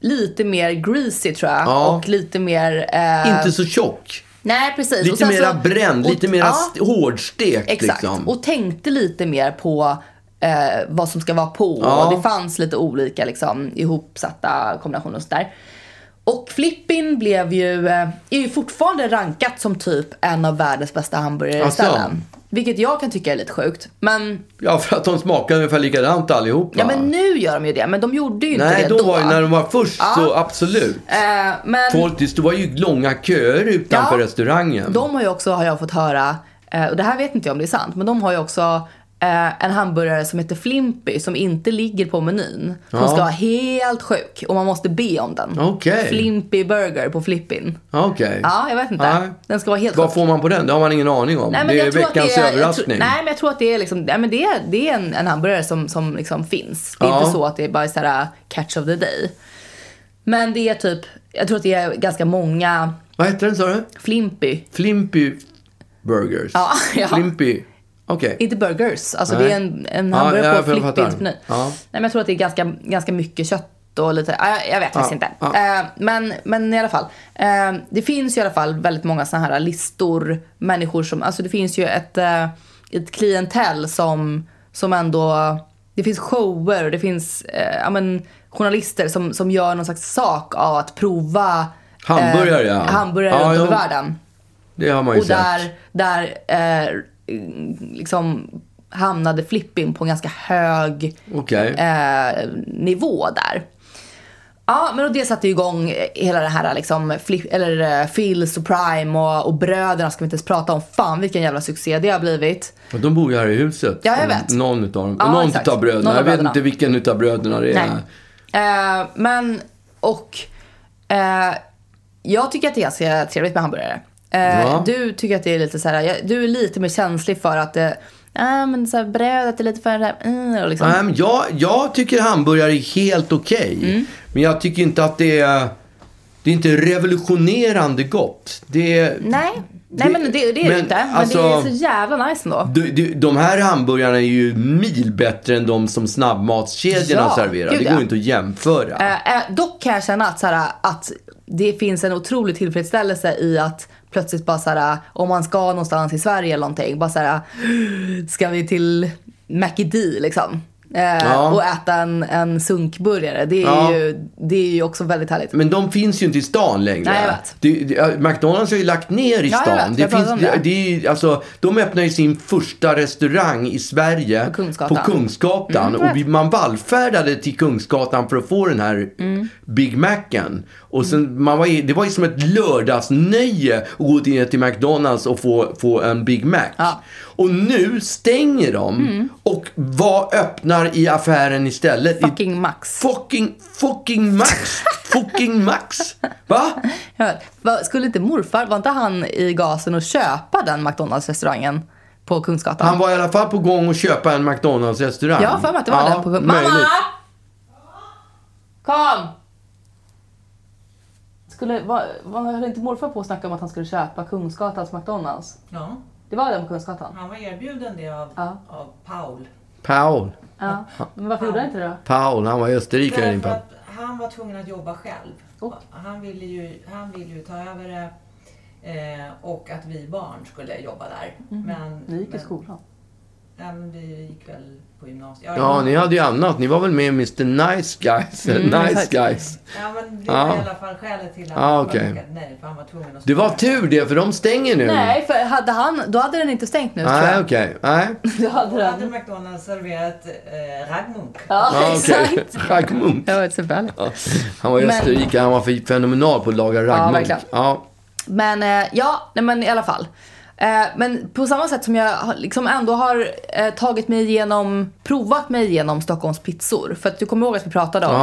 S3: lite mer greasy tror jag.
S2: Ja.
S3: Och lite mer, eh,
S2: Inte så tjock.
S3: nej precis. Och
S2: Lite
S3: sen
S2: mera
S3: så-
S2: bränd,
S3: och-
S2: lite mera
S3: ja,
S2: st- hårdstekt
S3: Exakt.
S2: liksom.
S3: Och tänkte lite mer på eh, vad som ska vara på.
S2: Ja.
S3: Och det fanns lite olika liksom, ihopsatta kombinationer och sådär. Och Flippin blev ju, eh, är ju fortfarande rankat som typ en av världens bästa
S2: Asså.
S3: hamburgerställen. Vilket jag kan tycka är lite sjukt. Men,
S2: Ja, för att de smakar ungefär likadant allihopa.
S3: ja, men nu gör de ju det. Men de gjorde ju inte
S2: Nej,
S3: det
S2: då
S3: då.
S2: var ju när de var först så absolut.
S3: eh, men
S2: Folk, det var ju långa köer utanför
S3: Ja.
S2: restaurangen.
S3: de har ju också, har jag fått höra, eh, och det här vet inte jag om det är sant, men de har ju också eh, en hamburgare som heter Flimpy som inte ligger på menyn. Som
S2: Ja.
S3: ska vara helt sjuk och man måste be om den.
S2: Okej.
S3: Flimpy burger på Flippin.
S2: Ja, Okej.
S3: Ja, jag vet inte.
S2: Nej.
S3: Den ska vara helt
S2: Vad
S3: sjuk.
S2: får man på den? Det har man ingen aning om.
S3: Nej, men
S2: det är
S3: jag tror att
S2: veckans
S3: det är-
S2: överraskning.
S3: Jag tror, nej, men jag tror att det är, liksom, nej, men det är, det är en, en hamburgare som, som liksom finns. Det är
S2: Ja.
S3: inte så att det är bara så här uh, catch of the day. Men det är typ, jag tror att det är ganska många
S2: Vad heter den sa du?
S3: Flimpy
S2: Flimpy Burgers.
S3: Ja, ja.
S2: Flimpy. Okej.
S3: Inte burgers, alltså
S2: Nej.
S3: det är en, en
S2: Ja,
S3: hamburgare
S2: ja, jag
S3: på
S2: fattar.
S3: Flippins meny.
S2: Ja.
S3: Nej men jag tror att det är ganska, ganska mycket kött och lite, ah, jag vet faktiskt inte. Eh, men, men i alla fall. Eh, det finns ju i alla fall väldigt många sådana här listor, människor som, alltså det finns ju ett, eh, ett klientell som, som ändå, det finns shower och det finns eh, ja, men, journalister som, som gör någon slags sak av att prova eh,
S2: Hamburgare, ja.
S3: hamburgare
S2: Ja,
S3: runt om i
S2: jo.
S3: världen.
S2: Det har man ju
S3: Och
S2: sett.
S3: där, där eh, liksom hamnade Flippin på en ganska hög
S2: Okej.
S3: eh, nivå där. Ja, men och det satte ju igång hela det här liksom, flip, eller eh, Phil's och Prime och, och bröderna ska vi inte ens prata om. Fan vilken jävla succé det har blivit.
S2: Och De bor ju här i huset.
S3: Ja, jag vet.
S2: Någon utav dem.
S3: Ja,
S2: någon
S3: exakt.
S2: utav bröderna.
S3: Någon av
S2: jag vet
S3: bröderna.
S2: inte vilken utav bröderna det är.
S3: Nej. Eh, men, och eh, jag tycker att det är ganska trevligt med hamburgare. Eh,
S2: Ja.
S3: Du tycker att det är lite så här, jag- du är lite mer känslig för att det, ah, men så här, brödet är lite för, uh, och liksom.
S2: Nej, men jag, jag tycker hamburgare är helt okej.
S3: Mm.
S2: Men jag tycker inte att det är... Det är inte revolutionerande gott. Det är,
S3: Nej, nej men det, det är det
S2: men,
S3: inte. Men
S2: alltså,
S3: det är så jävla nice ändå.
S2: de, de, de här hamburgarna är ju mil bättre än de som snabbmatskedjorna
S3: Ja,
S2: serverar.
S3: gud,
S2: Det
S3: ja.
S2: går inte att jämföra.
S3: Eh, eh, dock kan jag känna att, så här, att det finns en otrolig tillfredsställelse i att plötsligt bara så här, om man ska någonstans i Sverige eller någonting, bara så här, ska vi till McDee liksom? Eh,
S2: Ja.
S3: Och äta en, en sunkburgare. Det är,
S2: Ja.
S3: ju, det är ju också väldigt härligt.
S2: Men de finns ju inte i stan längre.
S3: Nej, jag vet.
S2: Det, det, ja, McDonalds har ju lagt ner i
S3: Ja, jag
S2: stan.
S3: vet. Jag
S2: det
S3: pratade
S2: finns,
S3: om
S2: det,
S3: det.
S2: det är ju- alltså, de öppnar ju sin första restaurang i Sverige
S3: På Kungsgatan. Mm.
S2: på Kungsgatan. och vi, man vallfärdade till Kungsgatan för att få den här
S3: Mm.
S2: Big Macen. Och sen, man var, ju- det var ju som ett lördagsnöje att gå ner till McDonalds och få, få en Big Mac.
S3: Ja. Mm.
S2: Och nu stänger de och vad öppnar i affären istället? I-
S3: Fucking Max.
S2: Fucking, fucking Max. fucking Max. Va?
S3: Jag vet. Vad- Skulle inte morfar, var inte han i gasen och köpa den McDonalds-restaurangen på Kungsgatan?
S2: Han var i alla fall på gång att köpa en McDonalds-restaurang.
S3: Jag har för mig att det var den på Mamma!
S2: möjligt.
S3: Kom! Skulle, var, var, höll inte morfar på att snacka om att han skulle köpa Kungsgatans McDonalds?
S6: Ja,
S3: Det var den på Kungsgatan?
S6: han var erbjuden det av, av Paul.
S2: Paul.
S3: Ja. Men varför gjorde han inte det då?
S2: Paul, han var österrikare din
S6: Därför
S2: pappa.
S6: att han var tvungen att jobba själv. Han ville ju, han ville ju ta över det Eh, och att vi barn skulle jobba där. Men,
S3: Mhm. Ni gick i
S6: men,
S3: skolan.
S6: Nej, men vi gick väl på gymnasiet.
S2: Ja, ni hade ju annat. Ni var väl med i Mr Nice Guys?
S3: Mm,
S2: nice Guys.
S6: Ja, men det
S2: Ja.
S6: var i alla fall skälet till att
S2: Ja,
S6: han
S2: okej.
S6: tackade nej, för han var tvungen att
S2: Det var
S6: spara.
S2: tur det, för de stänger nu.
S3: Nej, för hade han, då hade den inte stängt nu tror
S2: Nej,
S3: jag.
S2: okej. Nej.
S3: Då hade
S6: Då hade
S3: den.
S6: McDonalds serverat eh, raggmunk.
S3: Ja,
S2: Ja,
S3: exakt.
S2: okej. Raggmunk.
S3: Det var ett exempel.
S2: Ja. Han var i
S3: Men-
S2: Österrike. Han var för- fenomenal på att laga raggmunk.
S3: verkligen.
S2: Ja,
S3: Men eh, ja, nej, men i alla fall. Eh, men på samma sätt som jag har- liksom ändå har eh, tagit mig igenom, provat mig igenom Stockholms pizzor. För att du kommer ihåg att vi pratade om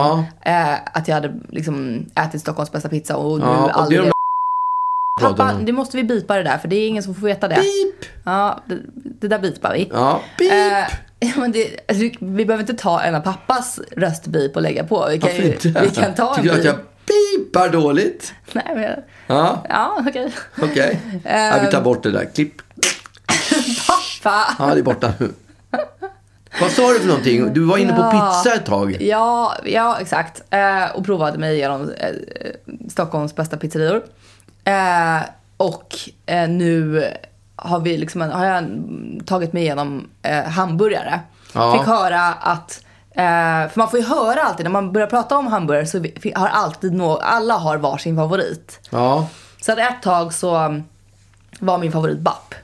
S2: Ja.
S3: eh, att jag hade liksom ätit Stockholms bästa pizza och nu
S2: Ja, och det är
S3: aldrig...
S2: de där pratar
S3: Pappa,
S2: om.
S3: det måste vi bipa det där för det är ingen som får veta det. Beep. Ja, det, det där bipar vi.
S2: ja. Beep.
S3: Eh, ja, men det, alltså, vi behöver inte ta en av pappas röstbip och lägga på. Vi kan,
S2: Varför
S3: ju,
S2: inte?
S3: vi kan ta en
S2: Tycker du att
S3: bip.
S2: jag pipar dåligt?
S3: Nej, men,
S2: Ja,
S3: ja, okej.
S2: okej. Ja, vi tar bort det där. Klipp.
S3: Pappa!
S2: Ja, det är borta nu. Vad sa du för någonting? Du var inne på pizza ett tag.
S3: Ja, ja exakt. Eh, och provade mig genom eh, Stockholms bästa pizzerior. Eh, och eh, nu har, vi liksom en, har jag mm, tagit mig igenom eh, hamburgare.
S2: Ja.
S3: Fick höra att Eh, för man får ju höra alltid, när man börjar prata om hamburgare så vi- fi- har alltid nå, alla har varsin favorit.
S2: Ja,
S3: Så att ett tag så mm, var min favorit BAP.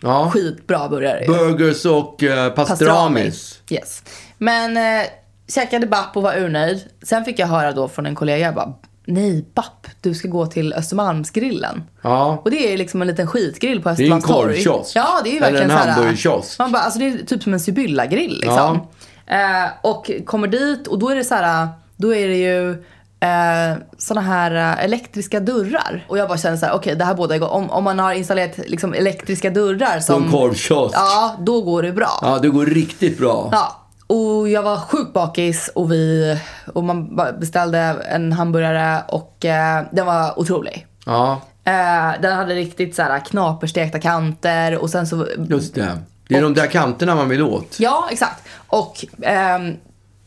S2: ja.
S3: Skitbra burgare.
S2: Burgers och eh, pastramis.
S3: Yes. Men eh, käkade BAP och var urnöjd. Sen fick jag höra då från en kollega jag bara, nej BAP, du ska gå till Östermalmsgrillen.
S2: Ja.
S3: Och det är liksom en liten skitgrill på
S2: är ju en
S3: Östermalmstorg.
S2: korvkiosk.
S3: Ja, det är ju
S2: Eller
S3: verkligen
S2: en
S3: så här-
S2: hamburgerkiosk.
S3: Man bara, alltså det är typ som en Sibylla-grill liksom. Eh, och kommer dit och då är det så här, då är det ju eh, såna här eh, elektriska dörrar. Och jag bara känner så här, okej det här båda om, om man har installerat liksom elektriska dörrar
S2: På en
S3: som...
S2: korvkiosk.
S3: Ja, då går det bra.
S2: Ja, det går riktigt bra.
S3: Ja. Och jag var sjukt bakis och, vi, och man ba- beställde en hamburgare och eh, den var otrolig.
S2: Ja,
S3: Eh, den hade riktigt så här knaperstekta kanter och sen så...
S2: just det. Det är de där kanterna man vill åt.
S3: Ja, exakt. Och ehm,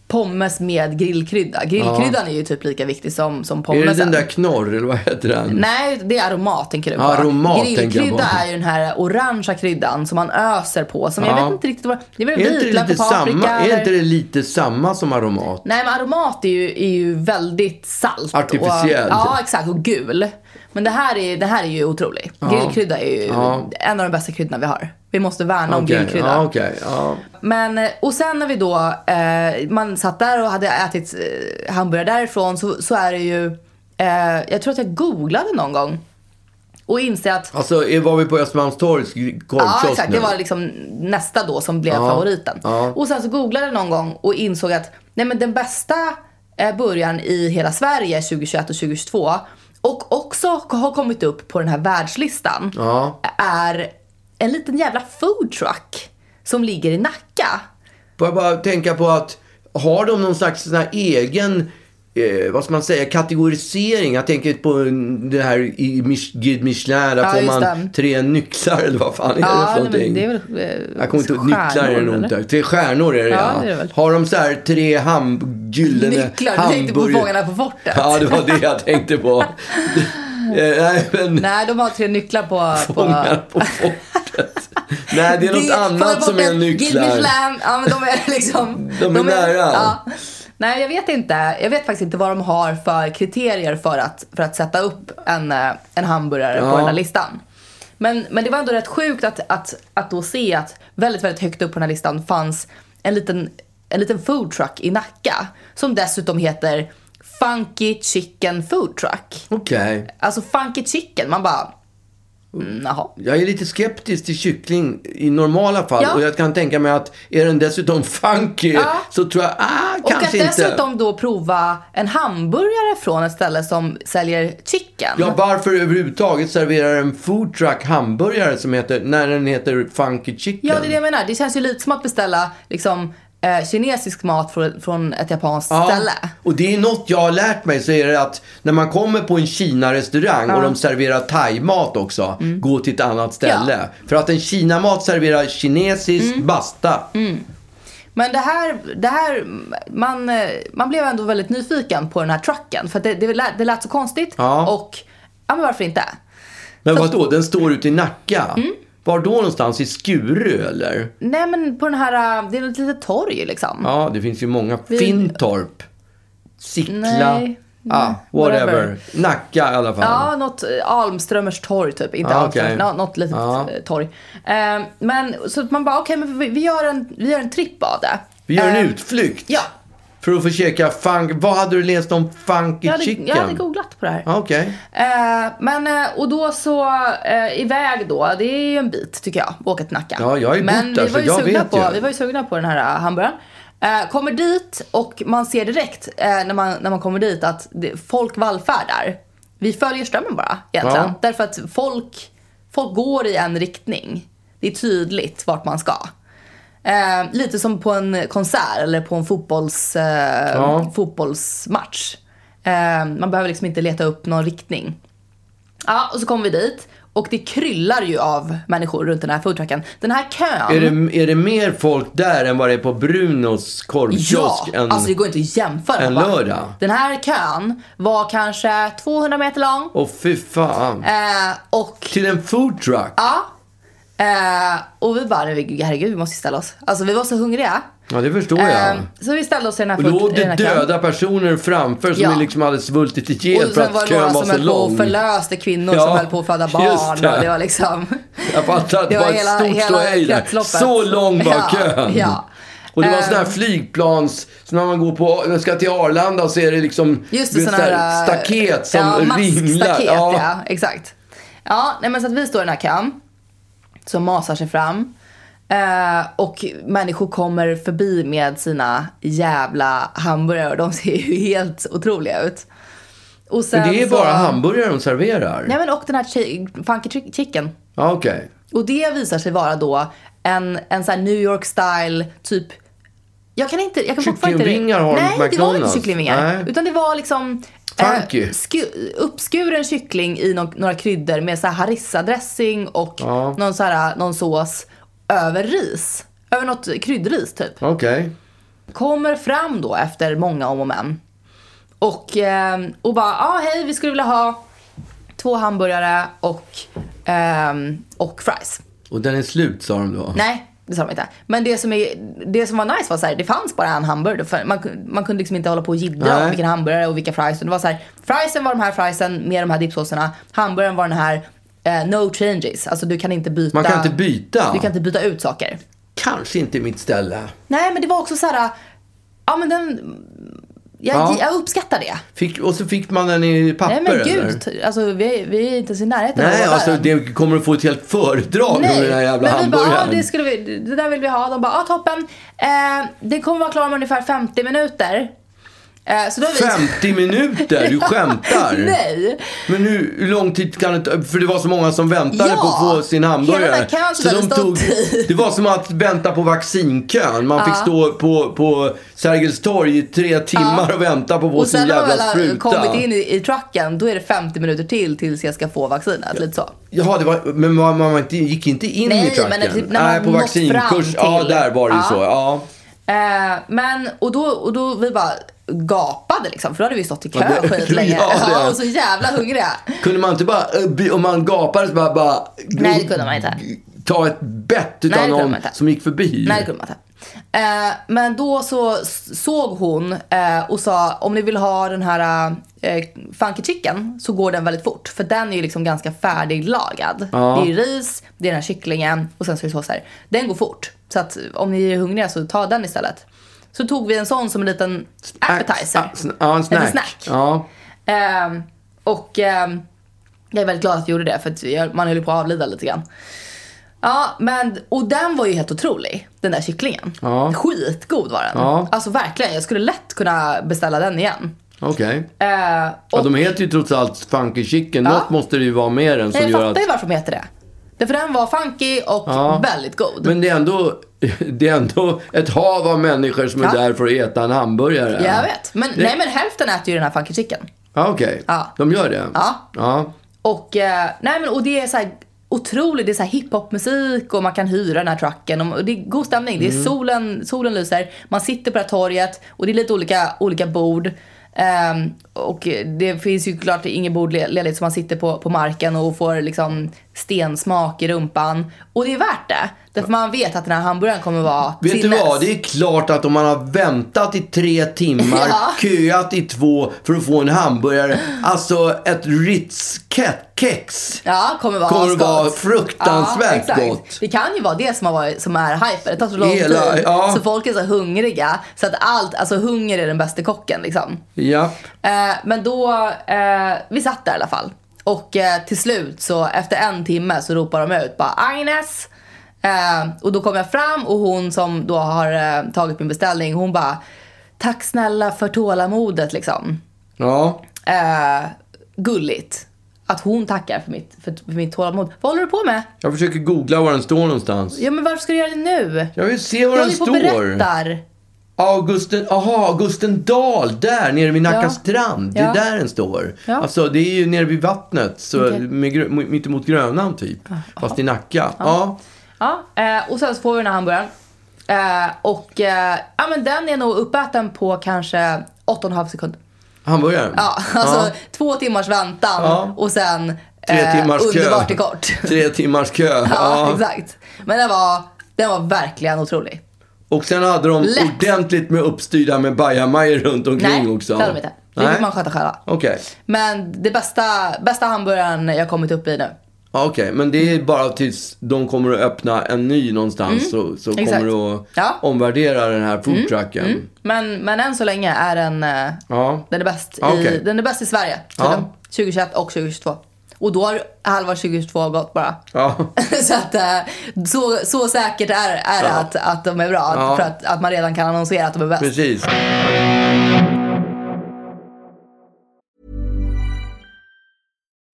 S3: pommes med grillkrydda. Grillkryddan är ju typ lika viktig som, som
S2: Är
S3: pommesen.
S2: det den där knorr, eller vad heter den?
S3: Nej, det är aromat tänker du på.
S2: Aromat tänker jag
S3: Grillkrydda
S2: på.
S3: är ju den här orangea kryddan som man öser på. Som jag
S2: Ja.
S3: vet inte riktigt vad... Det är väl
S2: Är inte, det
S3: vitlök
S2: lite
S3: och paprika.
S2: samma, är
S3: eller-
S2: inte det lite samma som aromat?
S3: Nej men aromat är ju, är ju väldigt salt.
S2: Artificiell.
S3: Och, ja exakt och gul. Men det här är, det här är ju otroligt. Grillkrydda är ju
S2: Ja.
S3: en av de bästa kryddorna vi har. Vi måste värna om
S2: Okej,
S3: grillkrydda.
S2: Ja, okej. ja.
S3: Men, eh, och sen när vi då, eh, man satt där och hade ätit eh, hamburgare därifrån så, så är det ju, eh, jag tror att jag googlade någon gång. Och inser att,
S2: Alltså, är- var vi på Östermalmstorgs gr- korvkiosk
S3: ja exakt,
S2: nu?
S3: det var liksom nästa då som blev favoriten.
S2: ja.
S3: Och sen så googlade jag någon gång och insåg att, nej men den bästa eh, burgaren i hela Sverige 2021 och 2022 och också har kommit upp på den här världslistan
S2: Ja.
S3: är en liten jävla foodtruck som ligger i Nacka.
S2: Får jag bara tänka på att har de någon slags sån här egen eh, vad ska man säga, kategorisering. Jag tänker på det här i Mich- Guide Michelin, där
S3: Ja,
S2: får
S3: just
S2: man
S3: det.
S2: tre nycklar eller vad fan är
S3: Ja,
S2: det för
S3: nej, men
S2: någonting?
S3: det är väl, eh,
S2: Jag kommer inte ihåg, nycklar är det
S3: stjärnor,
S2: nog inte.
S3: eller?
S2: Tre stjärnor är det
S3: Ja, det är det väl.
S2: Har de så här tre ham- gyllene
S3: Nycklar, du tänkte på
S2: hamburgare-
S3: Fångarna på fortet.
S2: Ja, det var det jag tänkte på. Eh, Nej, men
S3: Nej, de har tre nycklar på... på...
S2: Fångarna på fortet. Nej, det är något
S3: Fångarna på
S2: annat som är
S3: fortet, Guide
S2: nycklar.
S3: Michelin, ja men de är liksom...
S2: De är nära.
S3: Ja. Nej, jag vet inte. Jag vet faktiskt inte vad de har för kriterier för att, för att sätta upp en, eh, en hamburgare
S2: Ja.
S3: på den här listan. Men, men det var ändå rätt sjukt att, att, att då se att väldigt, väldigt högt upp på den här listan fanns en liten, en liten foodtruck i Nacka. Som dessutom heter Funky Chicken Food Truck.
S2: Okej.
S3: Alltså funky chicken, man bara... Mm, jaha.
S2: Jag är lite skeptisk till kyckling i normala fall
S3: Ja.
S2: och jag kan tänka mig att är den dessutom funky
S3: Ja.
S2: så tror jag, ah,
S3: Och att
S2: kanske inte.
S3: dessutom då prova en hamburgare från ett ställe som säljer chicken.
S2: Ja, varför överhuvudtaget serverar en foodtruck hamburgare som heter, när den heter funky chicken?
S3: Ja, det är det jag menar. Det känns ju lite som att beställa liksom, eh, kinesisk mat från, från ett japanskt
S2: Ja,
S3: ställe.
S2: och det är något jag har lärt mig så är det att när man kommer på en Kina-restaurang och de serverar thaimat också,
S3: Mm.
S2: gå till ett annat ställe. För att en Kinamat serverar kinesisk
S3: Mm.
S2: basta.
S3: Men det här, det här man, eh, man blev ändå väldigt nyfiken på den här trucken. För att det, det, lät, det lät så konstigt
S2: Ja.
S3: och, ja men varför inte?
S2: Men vadå, den står ute i Nacka?
S3: Mm.
S2: Var då någonstans? I Skuru eller?
S3: Nej men på den här, äh, det är ett litet torg liksom.
S2: Ja, det finns ju många. Fintorp, Sickla,
S3: Nej,
S2: ah, whatever.
S3: whatever.
S2: Nacka i alla fall.
S3: Ja, något eh, Almströmers torg typ. Inte
S2: Ja,
S3: Almströmers,
S2: Ah, okej.
S3: nå- något litet
S2: Ja.
S3: eh, torg. Eh, men så att man bara, okej men vi, vi, gör en, vi gör en tripp av det.
S2: Vi gör en
S3: Eh,
S2: utflykt.
S3: ja.
S2: För att försöka funk. Vad hade du läst om funky
S3: Jag hade,
S2: chicken?
S3: jag hade googlat på det här.
S2: Ah, Okej.
S3: Eh, men, eh, och då så, eh, iväg då, det är ju en bit tycker jag, åka till Nacka.
S2: Ja, jag har ju
S3: men
S2: bott där,
S3: vi var
S2: så
S3: ju,
S2: jag
S3: sugna
S2: vet
S3: på,
S2: ju.
S3: vi var ju sugna på den här eh, hamburgaren. Eh, kommer dit och man ser direkt eh, när, man, när man kommer dit att det, folk vallfärdar. Vi följer strömmen bara egentligen.
S2: Ja.
S3: Därför att folk, folk går i en riktning. Det är tydligt vart man ska. Eh, lite som på en konsert eller på en fotbolls, eh,
S2: Ja.
S3: fotbollsmatch. Eh, man behöver liksom inte leta upp någon riktning. Ja, och så kommer vi dit. Och det kryllar ju av människor runt den här foodtrucken. Den här kön.
S2: Är, det, är det mer folk där än vad det är på Brunos
S3: Ja,
S2: korvkiosk? än-
S3: alltså det går inte att jämföra.
S2: en
S3: va?
S2: lördag?
S3: Den här kön var kanske 200 meter lång.
S2: Åh fy fan.
S3: Eh, och,
S2: Till en foodtruck?
S3: ja. Eh, och vi bara, nej, vi- herregud vi måste ställa oss. Alltså vi var så hungriga.
S2: Ja, det förstår jag.
S3: Eh, så vi ställde oss i den här
S2: Och
S3: food-
S2: låg
S3: i den
S2: det
S3: här kön.
S2: döda personer framför som
S3: Ja.
S2: liksom hade svultit ihjäl
S3: Och
S2: för
S3: sen var
S2: att
S3: det några
S2: kön var
S3: som
S2: så
S3: höll på och
S2: lång.
S3: förlöste kvinnor
S2: Ja,
S3: som höll på att föda
S2: just
S3: barn.
S2: det.
S3: Och det var liksom...
S2: Jag fattar att det var ett stort ståhej där. Så lång var
S3: ja,
S2: kön.
S3: Ja.
S2: Och det var
S3: Eh,
S2: sådana här flygplans, så när man går på, när man ska till Arlanda så är det liksom
S3: Just
S2: du
S3: det,
S2: vet,
S3: sådana
S2: så
S3: här... eh,
S2: staket som
S3: ja,
S2: ringlar.
S3: maskstaket, ja. Exakt. Ja, nej men så att vi står i den här kön. Som masar sig fram. Eh, och människor kommer förbi med sina jävla hamburgare. Och de ser ju helt otroliga ut. Och sen
S2: Men det är
S3: Ehm, så...
S2: bara hamburgare de serverar.
S3: Nej men och den här chi- funky chi- chicken.
S2: Ja, okej.
S3: Och det visar sig vara då en, en sån här New York style typ jag kan inte, jag kan fortfarande inte...
S2: Kycklingvingar har de på
S3: Nej, det var inte
S2: McDonald's.
S3: kycklingvingar.
S2: Nej.
S3: Utan det var liksom
S2: Funky.
S3: sku, uppskuren kyckling i nå- några kryddor med så här harissa-dressing och
S2: Ja.
S3: någon, så här, någon sås över ris. Över något kryddris typ.
S2: Okej.
S3: Kommer fram då efter många om och men. Och, eh, och bara, ja ah, hej vi skulle vilja ha två hamburgare och, ehm, och fries.
S2: Och den är slut sa de då.
S3: Nej, det sa de inte. Men det som, är, det som var nice var så här, det fanns bara en hamburgare. För man, kun- man kunde liksom inte hålla på och jiddra
S2: Nej.
S3: om vilken hamburgare och vilka fries. Och Det var så här, friesen var de här friesen med de här dippsåserna. Hamburgaren var den här eh, no changes. Alltså du kan inte byta.
S2: Man kan inte byta.
S3: Du kan inte byta ut saker.
S2: Kanske inte mitt ställe.
S3: Nej men det var också så här, ja men den, jag,
S2: Ja.
S3: jag uppskattar det.
S2: Fick, och så fick man den i papper
S3: Nej men
S2: eller?
S3: gud, alltså, vi, vi är inte ens i närheten av att
S2: Nej,
S3: vara
S2: alltså
S3: där än.
S2: det kommer att få ett helt föredrag om den här jävla
S3: men vi bara, ja,
S2: hamburgaren.
S3: det, skulle vi, det där vill vi ha. De bara, ja toppen. Eh, det kommer vara klart om ungefär 50 minuter. Eh, så då har vi...
S2: 50 minuter? Du skämtar?
S3: Nej.
S2: Men hur, hur lång tid kan det ta? För det var så många som väntade
S3: Ja,
S2: på att få sin
S3: hela
S2: hamburgare.
S3: den här kön som hade stått i.
S2: det var som att vänta på vaccinkön. Man fick stå på, på Sergels torg i tre timmar och vänta på att få
S3: Och
S2: sin
S3: sen när man
S2: jävla
S3: väl har
S2: spruta.
S3: kommit in i, i trucken, då är det 50 minuter till tills jag ska få vaccinet. Lite så.
S2: Jaha, det var, men man, man var inte, gick inte in
S3: Nej,
S2: i trucken?
S3: men typ när man
S2: Nej, på
S3: nått fram
S2: vaccinkurs.
S3: till-
S2: Ja, där var det ju
S3: Ja.
S2: så. Ja.
S3: Eh, men, och då, och då vi bara gapade liksom, för då hade vi stått i kö
S2: Ja, det-
S3: skitlänge.
S2: ja, det-
S3: Ja, och så jävla hungriga.
S2: Kunde man inte bara, eh, be- om man gapade så bara, bara
S3: Nej, det kunde man inte.
S2: ta ett bett
S3: Nej,
S2: utav
S3: det kunde
S2: någon
S3: man inte.
S2: som gick förbi?
S3: Nej, det kunde man inte. Eh, men då så s- såg hon eh, och sa om ni vill ha den här eh, funky chicken så går den väldigt fort. För den är ju liksom ganska färdiglagad.
S2: Ja.
S3: Det är ris, det är den här kycklingen och sen så är det såser. Den går fort. Så att om ni är hungriga så ta den istället. Så tog vi en sån som en liten appetizer.
S2: Ah, sn- Ja, en snack.
S3: Eller snack.
S2: Ja.
S3: Ehm, och ehm, jag är väldigt glad att jag gjorde det för att jag, man höll ju på att avlida lite grann. Ja, men, och den var ju helt otrolig, den där kycklingen.
S2: Ja.
S3: Skitgod var den.
S2: Ja.
S3: Alltså verkligen, jag skulle lätt kunna beställa den igen.
S2: Okej.
S3: Eh,
S2: Ja,
S3: och
S2: de heter ju trots allt Funky Chicken.
S3: Ja.
S2: Något måste det ju vara med den som
S3: jag
S2: gör
S3: fattar
S2: att...
S3: ju varför de heter det. Därför den var funky och
S2: Ja.
S3: väldigt god.
S2: Men det är, ändå, det är ändå ett hav av människor som är
S3: Ja.
S2: där för att äta en hamburgare.
S3: Jag vet. Men, Nej men hälften äter ju den här funky chicken.
S2: Ja, Okej,
S3: Ja.
S2: de gör det?
S3: Ja.
S2: ja.
S3: Och, eh, nej men, och det är så här otroligt, det är så här hiphopmusik och man kan hyra den här trucken. Och det är god
S2: Mm.
S3: stämning, det är solen, solen lyser, man sitter på det här torget och det är lite olika, olika bord. Ehm, och det finns ju klart inget bord le- ledigt som man sitter på, på marken och får liksom stensmak i rumpan. Och det är värt det. Därför man vet att den här hamburgaren kommer vara
S2: Vet du
S3: sinnes.
S2: vad? Det är klart att om man har väntat i tre timmar,
S3: Ja.
S2: köat i två för att få en hamburgare. Alltså ett Ritz-kex.
S3: Ja, kommer vara
S2: Kommer
S3: asgott.
S2: vara fruktansvärt
S3: exakt.
S2: gott.
S3: Det kan ju vara det som, har varit, som är hype. Det tar så lång
S2: Hela-
S3: tid.
S2: ja.
S3: Så folk är så hungriga. Så att allt, alltså hunger är den bästa kocken liksom.
S2: Ja.
S3: Eh, men då, eh, vi satt där i alla fall. Och eh, till slut så efter en timme så ropar de ut bara Agnes! Eh, och då kom jag fram och hon som då har eh, tagit min beställning hon bara Tack snälla för tålamodet liksom.
S2: Ja.
S3: Eh, gulligt. Att hon tackar för mitt, för, för mitt tålamod. Vad håller du på med?
S2: Jag försöker googla var den står någonstans.
S3: Ja men varför ska du göra det nu?
S2: Jag vill se var
S3: Du
S2: den
S3: håller ju på och
S2: står.
S3: berättar.
S2: Augusten, aha, Augusten Dahl, där nere vid Nacka
S3: Ja.
S2: strand. Det är
S3: Ja.
S2: där den står.
S3: Ja.
S2: Alltså, det är ju nere vid vattnet, så
S3: Okej.
S2: med, grö- m- mitt emot Grönan typ. Fast i Nacka. Ja.
S3: Ja, eh, och sen så får vi den här hamburgaren. Eh, och eh, ja, men den är nog uppäten på kanske 8,5 sekund.
S2: Hamburgaren.
S3: Ja, alltså två timmars väntan
S2: Ja.
S3: och sen
S2: Tre
S3: eh,
S2: timmars kö.
S3: underbart är kort.
S2: Tre timmars kö. Ja,
S3: ja, exakt. Men den var, den var verkligen otrolig.
S2: Och sen hade de
S3: Lätt.
S2: ordentligt med uppstyrda med bajamajor runt omkring
S3: Nej,
S2: också.
S3: det hade de inte. Det
S2: Nej.
S3: fick man sköta själva.
S2: Okej,
S3: Men det bästa, bästa hamburgaren jag kommit upp i nu.
S2: Ja, okej. men det är bara tills de kommer att öppna en ny någonstans så, så
S3: Mm. Exakt.
S2: kommer du att
S3: Ja. Mm.
S2: omvärdera den här foodtrucken.
S3: Men, men än så länge är den, eh,
S2: Ja.
S3: den, är bäst
S2: Ja, okej.
S3: i, den är bäst i Sverige. tydligen. 2021 och 2022. Och då har halva 2022 gått bara.
S2: Ja.
S3: så, att, eh, så, så säkert är, är det att, att de är bra.
S2: Ja.
S3: För att, att man redan kan annonsera att de är bäst.
S2: Precis.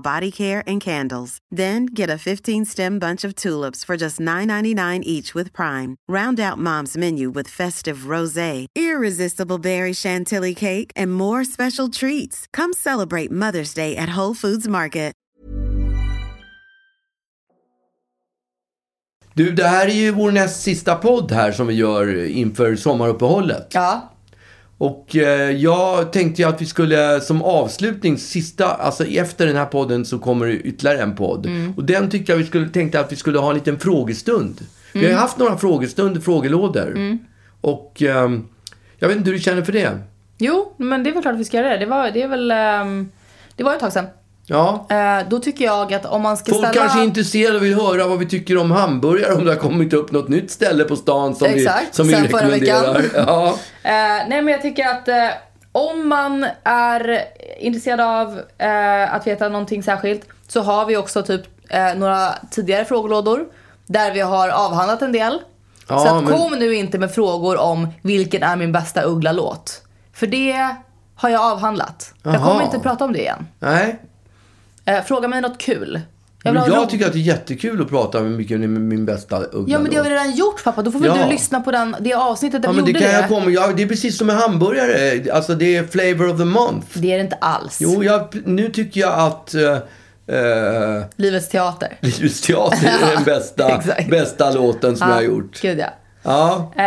S7: body care and candles. Then get a 15-stem bunch of tulips for just $9.99 each with Prime. Round out Mom's menu with festive rosé, irresistible berry chantilly cake, and more special treats. Come celebrate Mother's Day at Whole Foods Market.
S2: Du, det här är ju vår näst sista podd här som vi gör inför sommaruppehållet.
S3: Ja,
S2: Och eh, jag tänkte ju att vi skulle som avslutning, sista, alltså efter den här podden så kommer det ytterligare en podd.
S3: Mm.
S2: Och den tyckte jag vi skulle, tänkte att vi skulle ha en liten frågestund. Vi har
S3: Mm.
S2: ju haft några frågestunder, frågelådor. Och ehm, jag vet inte hur du känner för det.
S3: Jo, men det är väl klart att vi ska göra det. Det var, det är väl, ehm, det var ju ett tag sedan.
S2: Ja.
S3: Eh, då tycker jag att om man ska
S2: Folk
S3: ställa...
S2: kanske är intresserade och vill höra vad vi tycker om hamburgare, om det har kommit upp något nytt ställe på stan som vi,
S3: Exakt,
S2: som vi
S3: sen förra
S2: rekommenderar.
S3: veckan.
S2: Ja.
S3: Eh, nej men jag tycker att eh, om man är intresserad av eh, att veta någonting särskilt så har vi också typ eh, några tidigare frågelådor där vi har avhandlat en del.
S2: Ja,
S3: så att
S2: men-
S3: kom nu inte med frågor om vilken är min bästa Uggla-låt. För det har jag avhandlat. Jag
S2: Jaha.
S3: kommer inte prata om det igen.
S2: Nej.
S3: Eh, fråga mig något kul. Jag
S2: Jag,
S3: vill ha ro-
S2: tycker att det är jättekul att prata med mycket med min bästa uggla
S3: Ja men det har vi redan gjort pappa, då får väl
S2: Ja.
S3: du lyssna på den, det avsnittet där
S2: Ja,
S3: vi
S2: men det
S3: gjorde
S2: kan
S3: det.
S2: jag komma. Ja, det är precis som med hamburgare. Alltså det är flavor of the month.
S3: Det är det inte alls.
S2: Jo, jag, nu tycker jag att uh,
S3: Livets teater.
S2: Livets teater är den bästa,
S3: exakt.
S2: bästa låten som jag har gjort.
S3: Gud ja.
S2: Ja,
S3: Eh,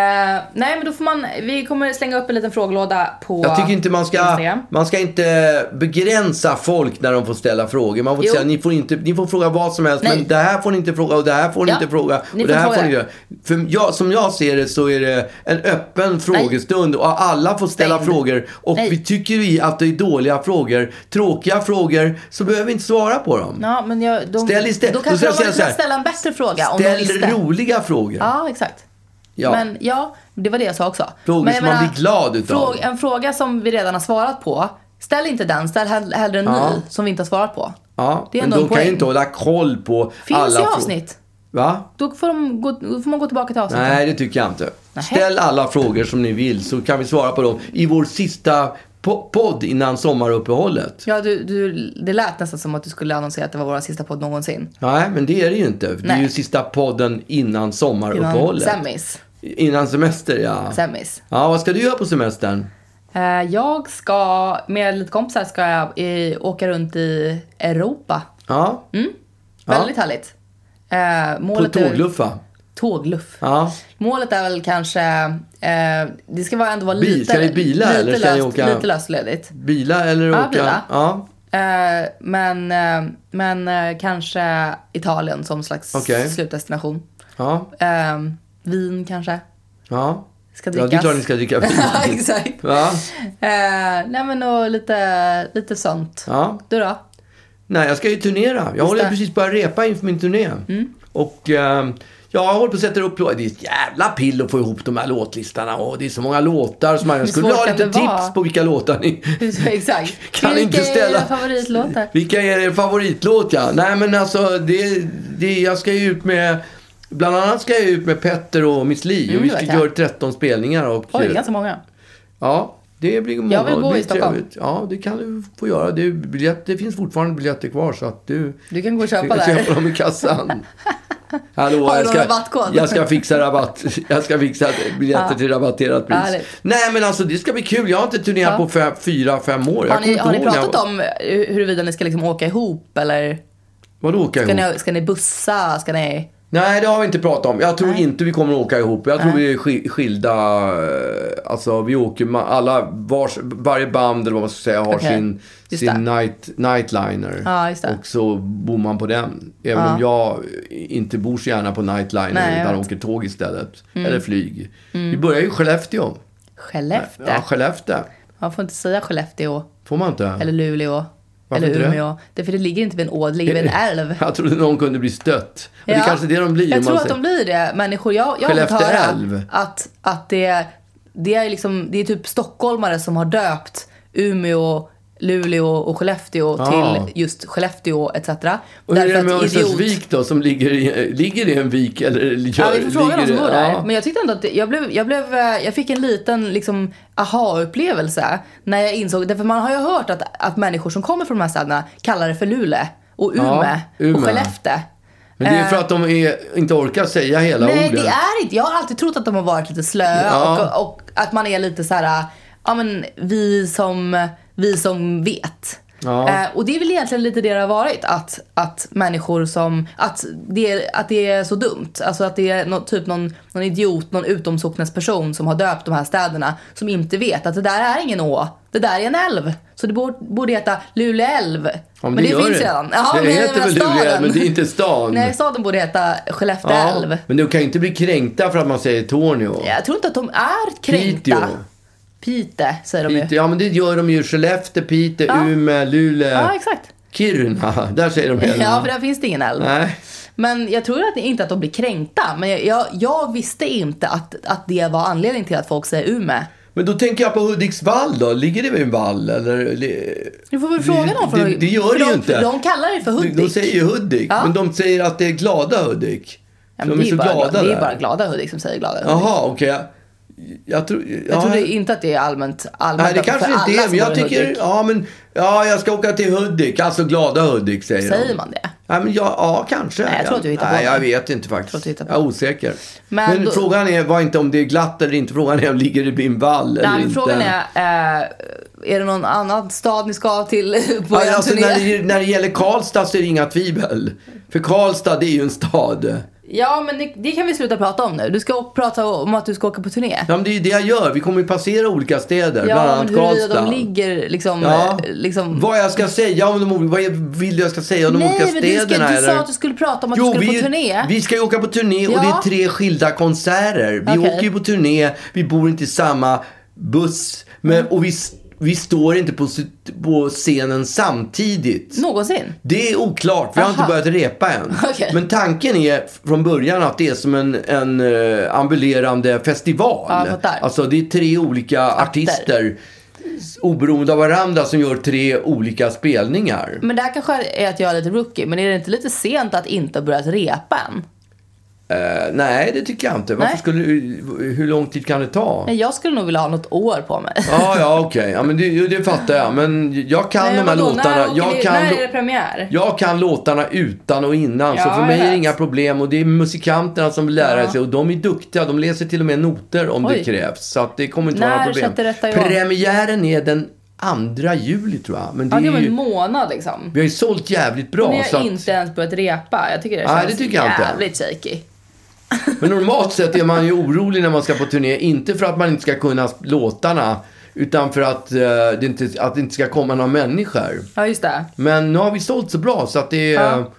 S3: nej men då får man, vi kommer slänga upp en liten frågelåda på
S2: jag tycker inte man ska,
S3: Instagram.
S2: man ska inte begränsa folk när de får ställa frågor. Man får
S3: Jo.
S2: säga, ni får, inte, ni får fråga vad som helst,
S3: Nej.
S2: men det här får ni inte fråga och det här får ni
S3: Ja,
S2: inte fråga.
S3: ni
S2: och det
S3: får
S2: här
S3: fråga.
S2: får ni göra. För jag, som jag ser det så är det en öppen frågestund och alla får ställa
S3: Stängd.
S2: frågor. Och
S3: Nej.
S2: vi tycker vi att det är dåliga frågor, tråkiga frågor, så behöver vi inte svara på dem.
S3: Ja men jag, de,
S2: Ställ istället-
S3: då
S2: då
S3: kanske
S2: ska jag
S3: de
S2: säga
S3: hade
S2: så här.
S3: kunnat ställa en bättre fråga om de
S2: Ställ
S3: visste.
S2: roliga frågor.
S3: Ja exakt.
S2: Ja.
S3: Men ja, det var det jag sa också.
S2: Frågor
S3: Men jag
S2: som man blir glad utav.
S3: Fråga, en fråga som vi redan har svarat på, ställ inte den, ställ hell- hellre en
S2: Ja.
S3: ny som vi inte har svarat på.
S2: Ja,
S3: det är
S2: men
S3: ändå
S2: de
S3: en
S2: kan
S3: poäng.
S2: ju inte hålla koll på
S3: Finns
S2: alla
S3: i
S2: frågor.
S3: avsnitt.
S2: Va?
S3: Då får, de gå, då får man gå tillbaka till avsnittet.
S2: Nej, det tycker jag inte. Ställ alla frågor som ni vill så kan vi svara på dem i vår sista po- podd innan sommaruppehållet.
S3: Ja, du, du, det lät nästan som att du skulle annonsera att det var vår sista podd någonsin.
S2: Nej, men det är det ju inte. Det är
S3: Nej.
S2: ju sista podden innan
S3: Innan
S2: sommaruppehållet.
S3: semis.
S2: Innan semester, ja.
S3: semis.
S2: Ja, vad ska du göra på semestern?
S3: Eh, Jag ska, med lite kompisar ska jag eh, åka runt i Europa.
S2: Ja,
S3: Mm,
S2: Ja.
S3: Väldigt härligt. Eh,
S2: på
S3: Målet Är,
S2: tågluffa.
S3: tågluff.
S2: Ja.
S3: Målet är väl kanske, eh, det ska vara ändå vara
S2: Bil-
S3: lite,
S2: ska ni bila
S3: lite,
S2: eller ska ni
S3: löst,
S2: åka-
S3: lite löstledigt.
S2: Bila eller
S3: Ja,
S2: åka?
S3: bila.
S2: Ja,
S3: Eh, men eh, men eh, kanske Italien som slags
S2: Okej.
S3: slutdestination.
S2: ja,
S3: Eh, vin kanske.
S2: ja.
S3: Ska
S2: Ja,
S3: drickas.
S2: det är klart ni ska dricka
S3: Ja,
S2: vin.
S3: Exakt.
S2: Va?
S3: Eh, nej men och lite, lite sånt.
S2: Ja.
S3: Du då?
S2: Nej, jag ska ju turnera. Jag håller
S3: det. Mm.
S2: precis på att repa inför min turné. Och eh, jag håller på att sätta upp låtar. Det är ett jävla pill att få ihop de här låtlistorna. Och det är så många låtar. Som man, jag
S3: Hur
S2: skulle
S3: svårt
S2: ha
S3: kan
S2: lite
S3: det vara?
S2: tips på vilka låtar ni
S3: Exakt.
S2: kan
S3: Vilka
S2: inte
S3: är
S2: ställa.
S3: dina favoritlåtar?
S2: Vilka är er favoritlåt, ja? Nej, men alltså, det, det, jag ska ju ut med... Bland annat ska jag ut med Petter och Miss Li.
S3: Mm,
S2: och vi
S3: det
S2: ska
S3: vet jag.
S2: göra 13 spelningar. Och,
S3: Oj, ganska många.
S2: Ja, det blir många.
S3: Jag vill bo
S2: Det
S3: i
S2: blir
S3: Stockholm.
S2: trevligt. Ja, det kan du få göra. Det, är biljett, det finns fortfarande biljetter kvar så att du...
S3: Du kan gå och köpa
S2: du kan
S3: där.
S2: köpa dem i kassan. Hallå,
S3: Har du
S2: jag
S3: någon
S2: ska,
S3: rabattkod?
S2: jag ska fixa rabatt. Jag ska fixa biljetter till rabatterat pris.
S3: Härligt.
S2: Nej, men alltså det ska bli kul. Jag har inte turnerat
S3: Ja.
S2: på fem, fyra, fem år. Jag
S3: Har
S2: kommer
S3: ni,
S2: inte
S3: har ni
S2: ihåg när jag-
S3: pratat om huruvida ni ska liksom åka ihop eller?
S2: Vadå åka
S3: Ska
S2: ihop?
S3: ni, ska ni bussa? Ska ni...
S2: Nej, det har vi inte pratat om. Jag tror inte vi kommer att åka ihop. Jag tror vi är sk- skilda. eh, Alltså, vi åker ma- alla, vars, varje band eller vad man ska säga har
S3: Okej.
S2: sin,
S3: Just
S2: sin
S3: det.
S2: night, nightliner.
S3: Ja, just det.
S2: och så bor man på den. Även om jag inte bor så gärna på nightliner
S3: Nej, jag
S2: utan
S3: vet. Mm.
S2: åker tåg istället. Eller flyg. Vi börjar ju i Skellefteå.
S3: Skellefteå?
S2: Ja, Skellefteå.
S3: Man får inte säga Skellefteå
S2: Får man inte?
S3: eller Luleå
S2: Varför
S3: eller
S2: inte det?
S3: Umeå. Det? är för det ligger inte vid en å, det ligger vid en älv.
S2: Jag trodde någon kunde bli stött. Men Det
S3: Ja.
S2: är kanske det de blir. om
S3: Jag
S2: man
S3: tror att
S2: säger-
S3: de blir det, människor. Jag, jag har fått
S2: Skellefteå
S3: höra
S2: älv.
S3: att, att det, det, är liksom, det är typ stockholmare som har döpt Umeå, Luleå och Skellefteå
S2: Ah.
S3: till just Skellefteå etc.
S2: Och hur är det med
S3: att idiot-
S2: Örnsköldsvik då, som ligger i, ligger i en vik? Eller, gör,
S3: Ja, vi får fråga
S2: ligger
S3: någon som
S2: i-
S3: bor
S2: ja.
S3: där. Men jag tyckte ändå att det, jag, blev, jag, blev, eh, jag fick en liten liksom, aha-upplevelse när jag insåg, därför man har ju hört att, att människor som kommer från de här städerna kallar det för Lule och Ume
S2: Ja, Umeå.
S3: och Skellefteå.
S2: Men det är för att de är, inte orkar säga hela
S3: eh, Nej,
S2: ordet.
S3: det är inte. Jag har alltid trott att de har varit lite slöa
S2: Ja.
S3: och, och att man är lite så här, ja men vi som, vi som vet.
S2: Ja.
S3: Eh, och det är väl egentligen lite det det har varit, att, att människor som, att det, är- att det är så dumt. Alltså att det är nå- typ någon, någon idiot, någon utomsocknes person som har döpt de här städerna som inte vet att det där är ingen å, det där är en älv. Så det borde, borde heta Luleälv.
S2: Ja, men, det, gör
S3: finns
S2: det.
S3: redan. Ja,
S2: det
S3: men jag
S2: heter
S3: menar
S2: väl Luleå,
S3: staden.
S2: men det är inte stan.
S3: Nej, staden borde heta
S2: Ja,
S3: Skellefteälv.
S2: Men du kan ju inte bli kränkta för att man säger Tornio.
S3: Jag tror inte att de är kränkta.
S2: Piteå.
S3: Pite säger de
S2: Pite,
S3: ju.
S2: ja, men det gör de ju. Skellefteå, Piteå,
S3: Ja.
S2: Umeå, Luleå,
S3: Ja, exakt.
S2: Kiruna. Där säger de hela.
S3: Ja, för där finns det ingen älv.
S2: Nej.
S3: Men jag tror att det, inte att de blir kränkta. Men jag, jag, jag visste inte att, att det var anledningen till att folk säger Ume.
S2: Men då tänker jag på Hudiksvall då. Ligger det vid en vall? Eller...
S3: Du får väl fråga någon för
S2: Det, det gör
S3: för
S2: det
S3: de,
S2: ju inte.
S3: För de kallar det för Hudik.
S2: De säger ju Hudik,
S3: Ja.
S2: men de säger att det är glada Hudik.
S3: Ja, men
S2: de är,
S3: det
S2: så
S3: bara,
S2: glada
S3: Det
S2: där.
S3: är bara glada Hudik som säger glada Hudik.
S2: Jaha, okej. Jag, jag tror... ja,
S3: Jag trodde inte att det är allmänt. allmänt
S2: Nej, det
S3: att-
S2: kanske
S3: för
S2: inte
S3: alla
S2: är,
S3: som
S2: men jag
S3: bor i
S2: tycker...
S3: Hudik.
S2: Ja, men... Ja, jag ska åka till Hudik. Alltså glada Hudik, säger
S3: Säger
S2: de.
S3: man det?
S2: Ja, men ja, ja, kanske.
S3: Nej, jag tror att du hittar på
S2: Nej,
S3: det.
S2: jag vet inte
S3: Jag tror att
S2: faktiskt.
S3: du hittar på
S2: Jag är osäker. Men,
S3: Men då-
S2: frågan är, var inte om det är glatt eller inte. Frågan är om ligger det vid en vall eller
S3: Nej, men
S2: inte.
S3: frågan är, eh, är det någon annan stad ni ska till på
S2: Ja,
S3: er
S2: alltså,
S3: turné?
S2: när, det, när det gäller Karlstad så är det inga tvivel. För Karlstad, det är ju en stad.
S3: Ja, men det, det kan vi sluta prata om nu. Du ska å- prata om att du ska åka på turné.
S2: Ja, men det är ju det jag gör. Vi kommer ju passera olika städer, bland
S3: Ja,
S2: annat
S3: men huruvida
S2: Karlstad.
S3: de ligger liksom...
S2: Ja.
S3: eh, liksom
S2: Vad jag ska säga om de olika, vad jag vill jag ska säga om de olika
S3: Nej, men du,
S2: städerna?
S3: ska, du
S2: eller?
S3: sa att du skulle prata om att du
S2: Jo,
S3: skulle
S2: vi,
S3: på turné.
S2: vi ska ju åka på turné och
S3: Ja.
S2: det är tre skilda konserter. Vi
S3: Okej.
S2: åker ju på turné, vi bor inte i samma buss
S3: Mm.
S2: men, och vi, s- vi står inte på, s- på scenen samtidigt.
S3: Någonsin.
S2: Det är oklart, vi har inte
S3: Aha.
S2: börjat repa än.
S3: Okej.
S2: Men tanken är från början att det är som en, en eh, ambulerande festival.
S3: Ja, jag fattar.
S2: alltså det är tre olika artister s- oberoende av varandra som gör tre olika spelningar.
S3: Mm. Men det här kanske är att jag är lite rookie, men är det inte lite sent att inte börja repa än?
S2: Eh, nej, det tycker jag inte. Varför
S3: Nej.
S2: skulle, hur lång tid kan det ta?
S3: Nej, jag skulle nog vilja ha något år på mig.
S2: Ja, ja, okej. Ja, men det, det fattar jag. Men jag kan de här
S3: vadå,
S2: låtarna.
S3: När, åker
S2: Jag
S3: vi-
S2: kan,
S3: när
S2: lo-
S3: är det premiär?
S2: jag kan låtarna utan och innan. så
S3: Ja,
S2: för mig
S3: jag
S2: är det
S3: vet.
S2: inga problem. Och det är musikanterna som vill lära sig. Och de är duktiga. De läser till och med noter om det
S3: Oj.
S2: krävs. Så att det kommer inte vara
S3: När
S2: några problem.
S3: sätter detta igång?
S2: Premiären är den 2 juli tror jag. Men det
S3: Ja,
S2: är
S3: det var
S2: ju,
S3: en månad liksom.
S2: vi har ju sålt jävligt bra.
S3: Men jag
S2: så
S3: har
S2: att,
S3: inte ens börjat repa. Jag tycker det
S2: Nej,
S3: känns
S2: det tycker jag inte.
S3: jävligt shaky.
S2: Men normalt sett är man ju orolig när man ska på turné. Inte för att man inte ska kunna låtarna. Utan för att, eh, det, inte, att det inte ska komma några människor.
S3: Ja, just det.
S2: Men nu har vi sålt så bra så att det är...
S3: Ja.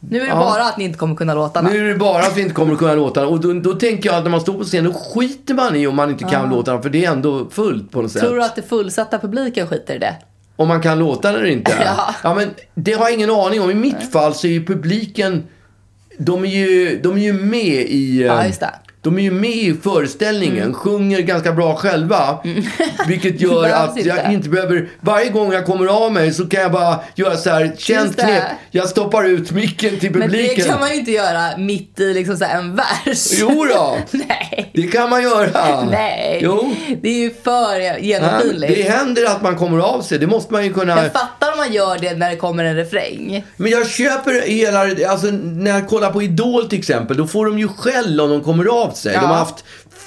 S3: Nu är det
S2: Ja.
S3: bara att ni inte kommer kunna låtarna.
S2: Nu är det bara att vi inte kommer att kunna låtarna. Och då, då tänker jag att när man står på scen, då skiter man i om man inte kan låtarna. För det är ändå fullt på något sätt.
S3: Tror du att det fullsatta publiken skiter i det?
S2: Om man kan låtarna eller inte.
S3: Ja.
S2: men det har jag ingen aning om. I mitt fall så är ju publiken... De är ju, de är ju med i... eh,
S3: Ja, just det. Mm.
S2: De är ju med i föreställningen, sjunger ganska bra själva. Vilket gör
S3: Behövs
S2: att jag
S3: inte.
S2: inte behöver... Varje gång jag kommer av mig så kan jag bara göra så här, känt
S3: Just det.
S2: knep. Jag stoppar ut micken till
S3: Men
S2: publiken.
S3: det kan man ju inte göra mitt i liksom så här en vers.
S2: Jo då.
S3: Nej.
S2: Det kan man göra.
S3: Nej.
S2: Jo.
S3: Det är ju för
S2: Ja,
S3: genomskinligt.
S2: Det händer att man kommer av sig. Det måste man ju kunna...
S3: Jag fattar om man gör det när det kommer en refräng.
S2: Men jag köper hela... Alltså när jag kollar på Idol till exempel. Då får de ju skäll om de kommer av sig.
S3: Ja.
S2: De har haft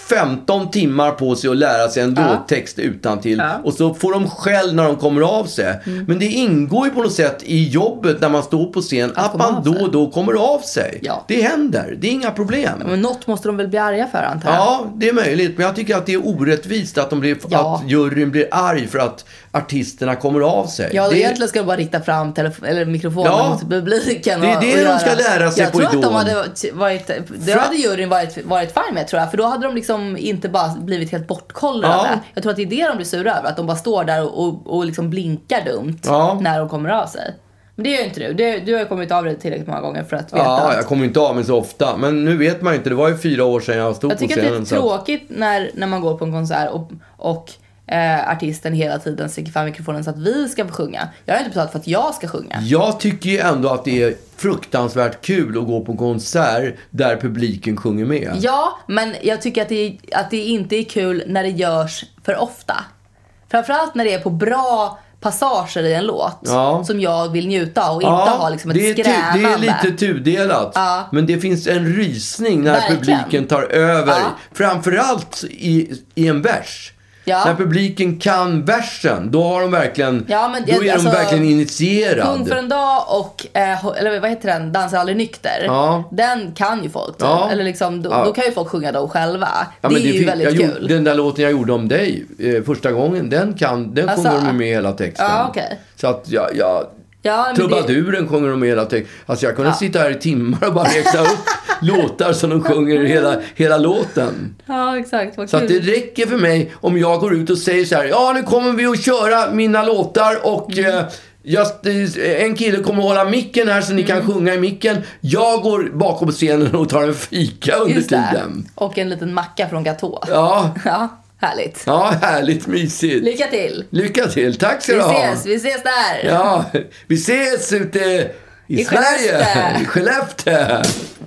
S2: 15 timmar på sig att lära sig en låttext utan till
S3: Ja. Mm.
S2: Och så får de skäll när de kommer av sig. Men det ingår ju på något sätt i jobbet när man står på scen. Att,
S3: komma
S2: man
S3: av
S2: då
S3: sig.
S2: och då kommer av sig.
S3: Ja.
S2: Det händer. Det är inga problem.
S3: Men något måste de väl bli arga för antar jag.
S2: Ja, det är möjligt. Men jag tycker att det är orättvist att, de blir,
S3: Ja.
S2: att juryn blir arg för att artisterna kommer av sig.
S3: Ja,
S2: det,
S3: egentligen ska de bara rikta fram telefon- eller mikrofonen
S2: Ja.
S3: mot publiken.
S2: Det är
S3: och-
S2: det
S3: och
S2: de
S3: göra.
S2: ska lära sig
S3: jag
S2: på
S3: tror att
S2: Idol.
S3: de hade varit- varit, det
S2: Fra-
S3: hade juryn varit, varit fine med tror jag. För då hade de liksom inte bara blivit helt bortkollrade.
S2: Ja.
S3: Jag tror att det är det de blir sura över. Att de bara står där och, och, och liksom blinkar dumt
S2: Ja.
S3: när de kommer av sig. Men det gör ju inte du. Du, du har ju kommit av dig tillräckligt många gånger för att veta.
S2: ja,
S3: att-
S2: jag kommer inte av mig så ofta. Men nu vet man ju inte. Det var ju fyra år sedan jag stod
S3: Jag tycker
S2: på
S3: att det är
S2: scenen.
S3: lite tråkigt när, när man går på en konsert och, och eh, artisten hela tiden sticker fram mikrofonen så att vi ska få sjunga. Jag har inte betalat för att jag ska sjunga.
S2: jag tycker ju ändå att det är fruktansvärt kul att gå på en konsert där publiken sjunger med.
S3: Ja, men jag tycker att det, att det inte är kul när det görs för ofta. Framförallt när det är på bra passager i en låt
S2: Ja.
S3: som jag vill njuta av och
S2: Ja,
S3: inte ha liksom
S2: det, är
S3: ett
S2: tu-
S3: skränande.
S2: det är lite tudelat. Men det finns en rysning när
S3: Verkligen.
S2: publiken tar över.
S3: Ja.
S2: Framförallt i, i en vers.
S3: Ja.
S2: När publiken kan versen, då har de verkligen,
S3: Ja, men det-
S2: då är
S3: alltså,
S2: de verkligen initierad.
S3: Kung för en dag och, eh, ho- eller vad heter den, Dansar aldrig nykter.
S2: Ja.
S3: Den kan ju folk typ.
S2: Ja.
S3: Eller liksom, då,
S2: Ja.
S3: då kan ju folk sjunga dem själva.
S2: Ja,
S3: det
S2: men
S3: är ju
S2: fin-
S3: väldigt
S2: jag
S3: kul.
S2: Gjorde, den där låten jag gjorde om dig eh, första gången, den, kan, den
S3: Alltså?
S2: sjunger de med hela texten.
S3: Ja, okej.
S2: Så att jag, jag
S3: Ja, men
S2: Trubaduren sjunger de med hela texten. Alltså jag kunde sitta här i timmar och bara läxa upp låtar som de sjunger hela, hela låten.
S3: Det, ja, exakt. Vad
S2: Så att det
S3: kul.
S2: räcker för mig om jag går ut och säger så här, ja nu kommer vi att köra mina låtar och
S3: Mm.
S2: eh, jag, eh, en kille kommer att hålla micken här så ni kan
S3: Mm.
S2: sjunga i micken. Jag går bakom scenen och tar en fika under
S3: Just det.
S2: tiden.
S3: Och en liten macka från Gatå.
S2: Ja,
S3: Ja, härligt.
S2: ja, härligt mysigt.
S3: Lycka till.
S2: Lycka till, tack ska
S3: Vi
S2: du ha.
S3: ses, vi ses där.
S2: Ja, vi ses ute i,
S3: I
S2: Sverige,
S3: Skellefteå.
S2: i Skellefteå.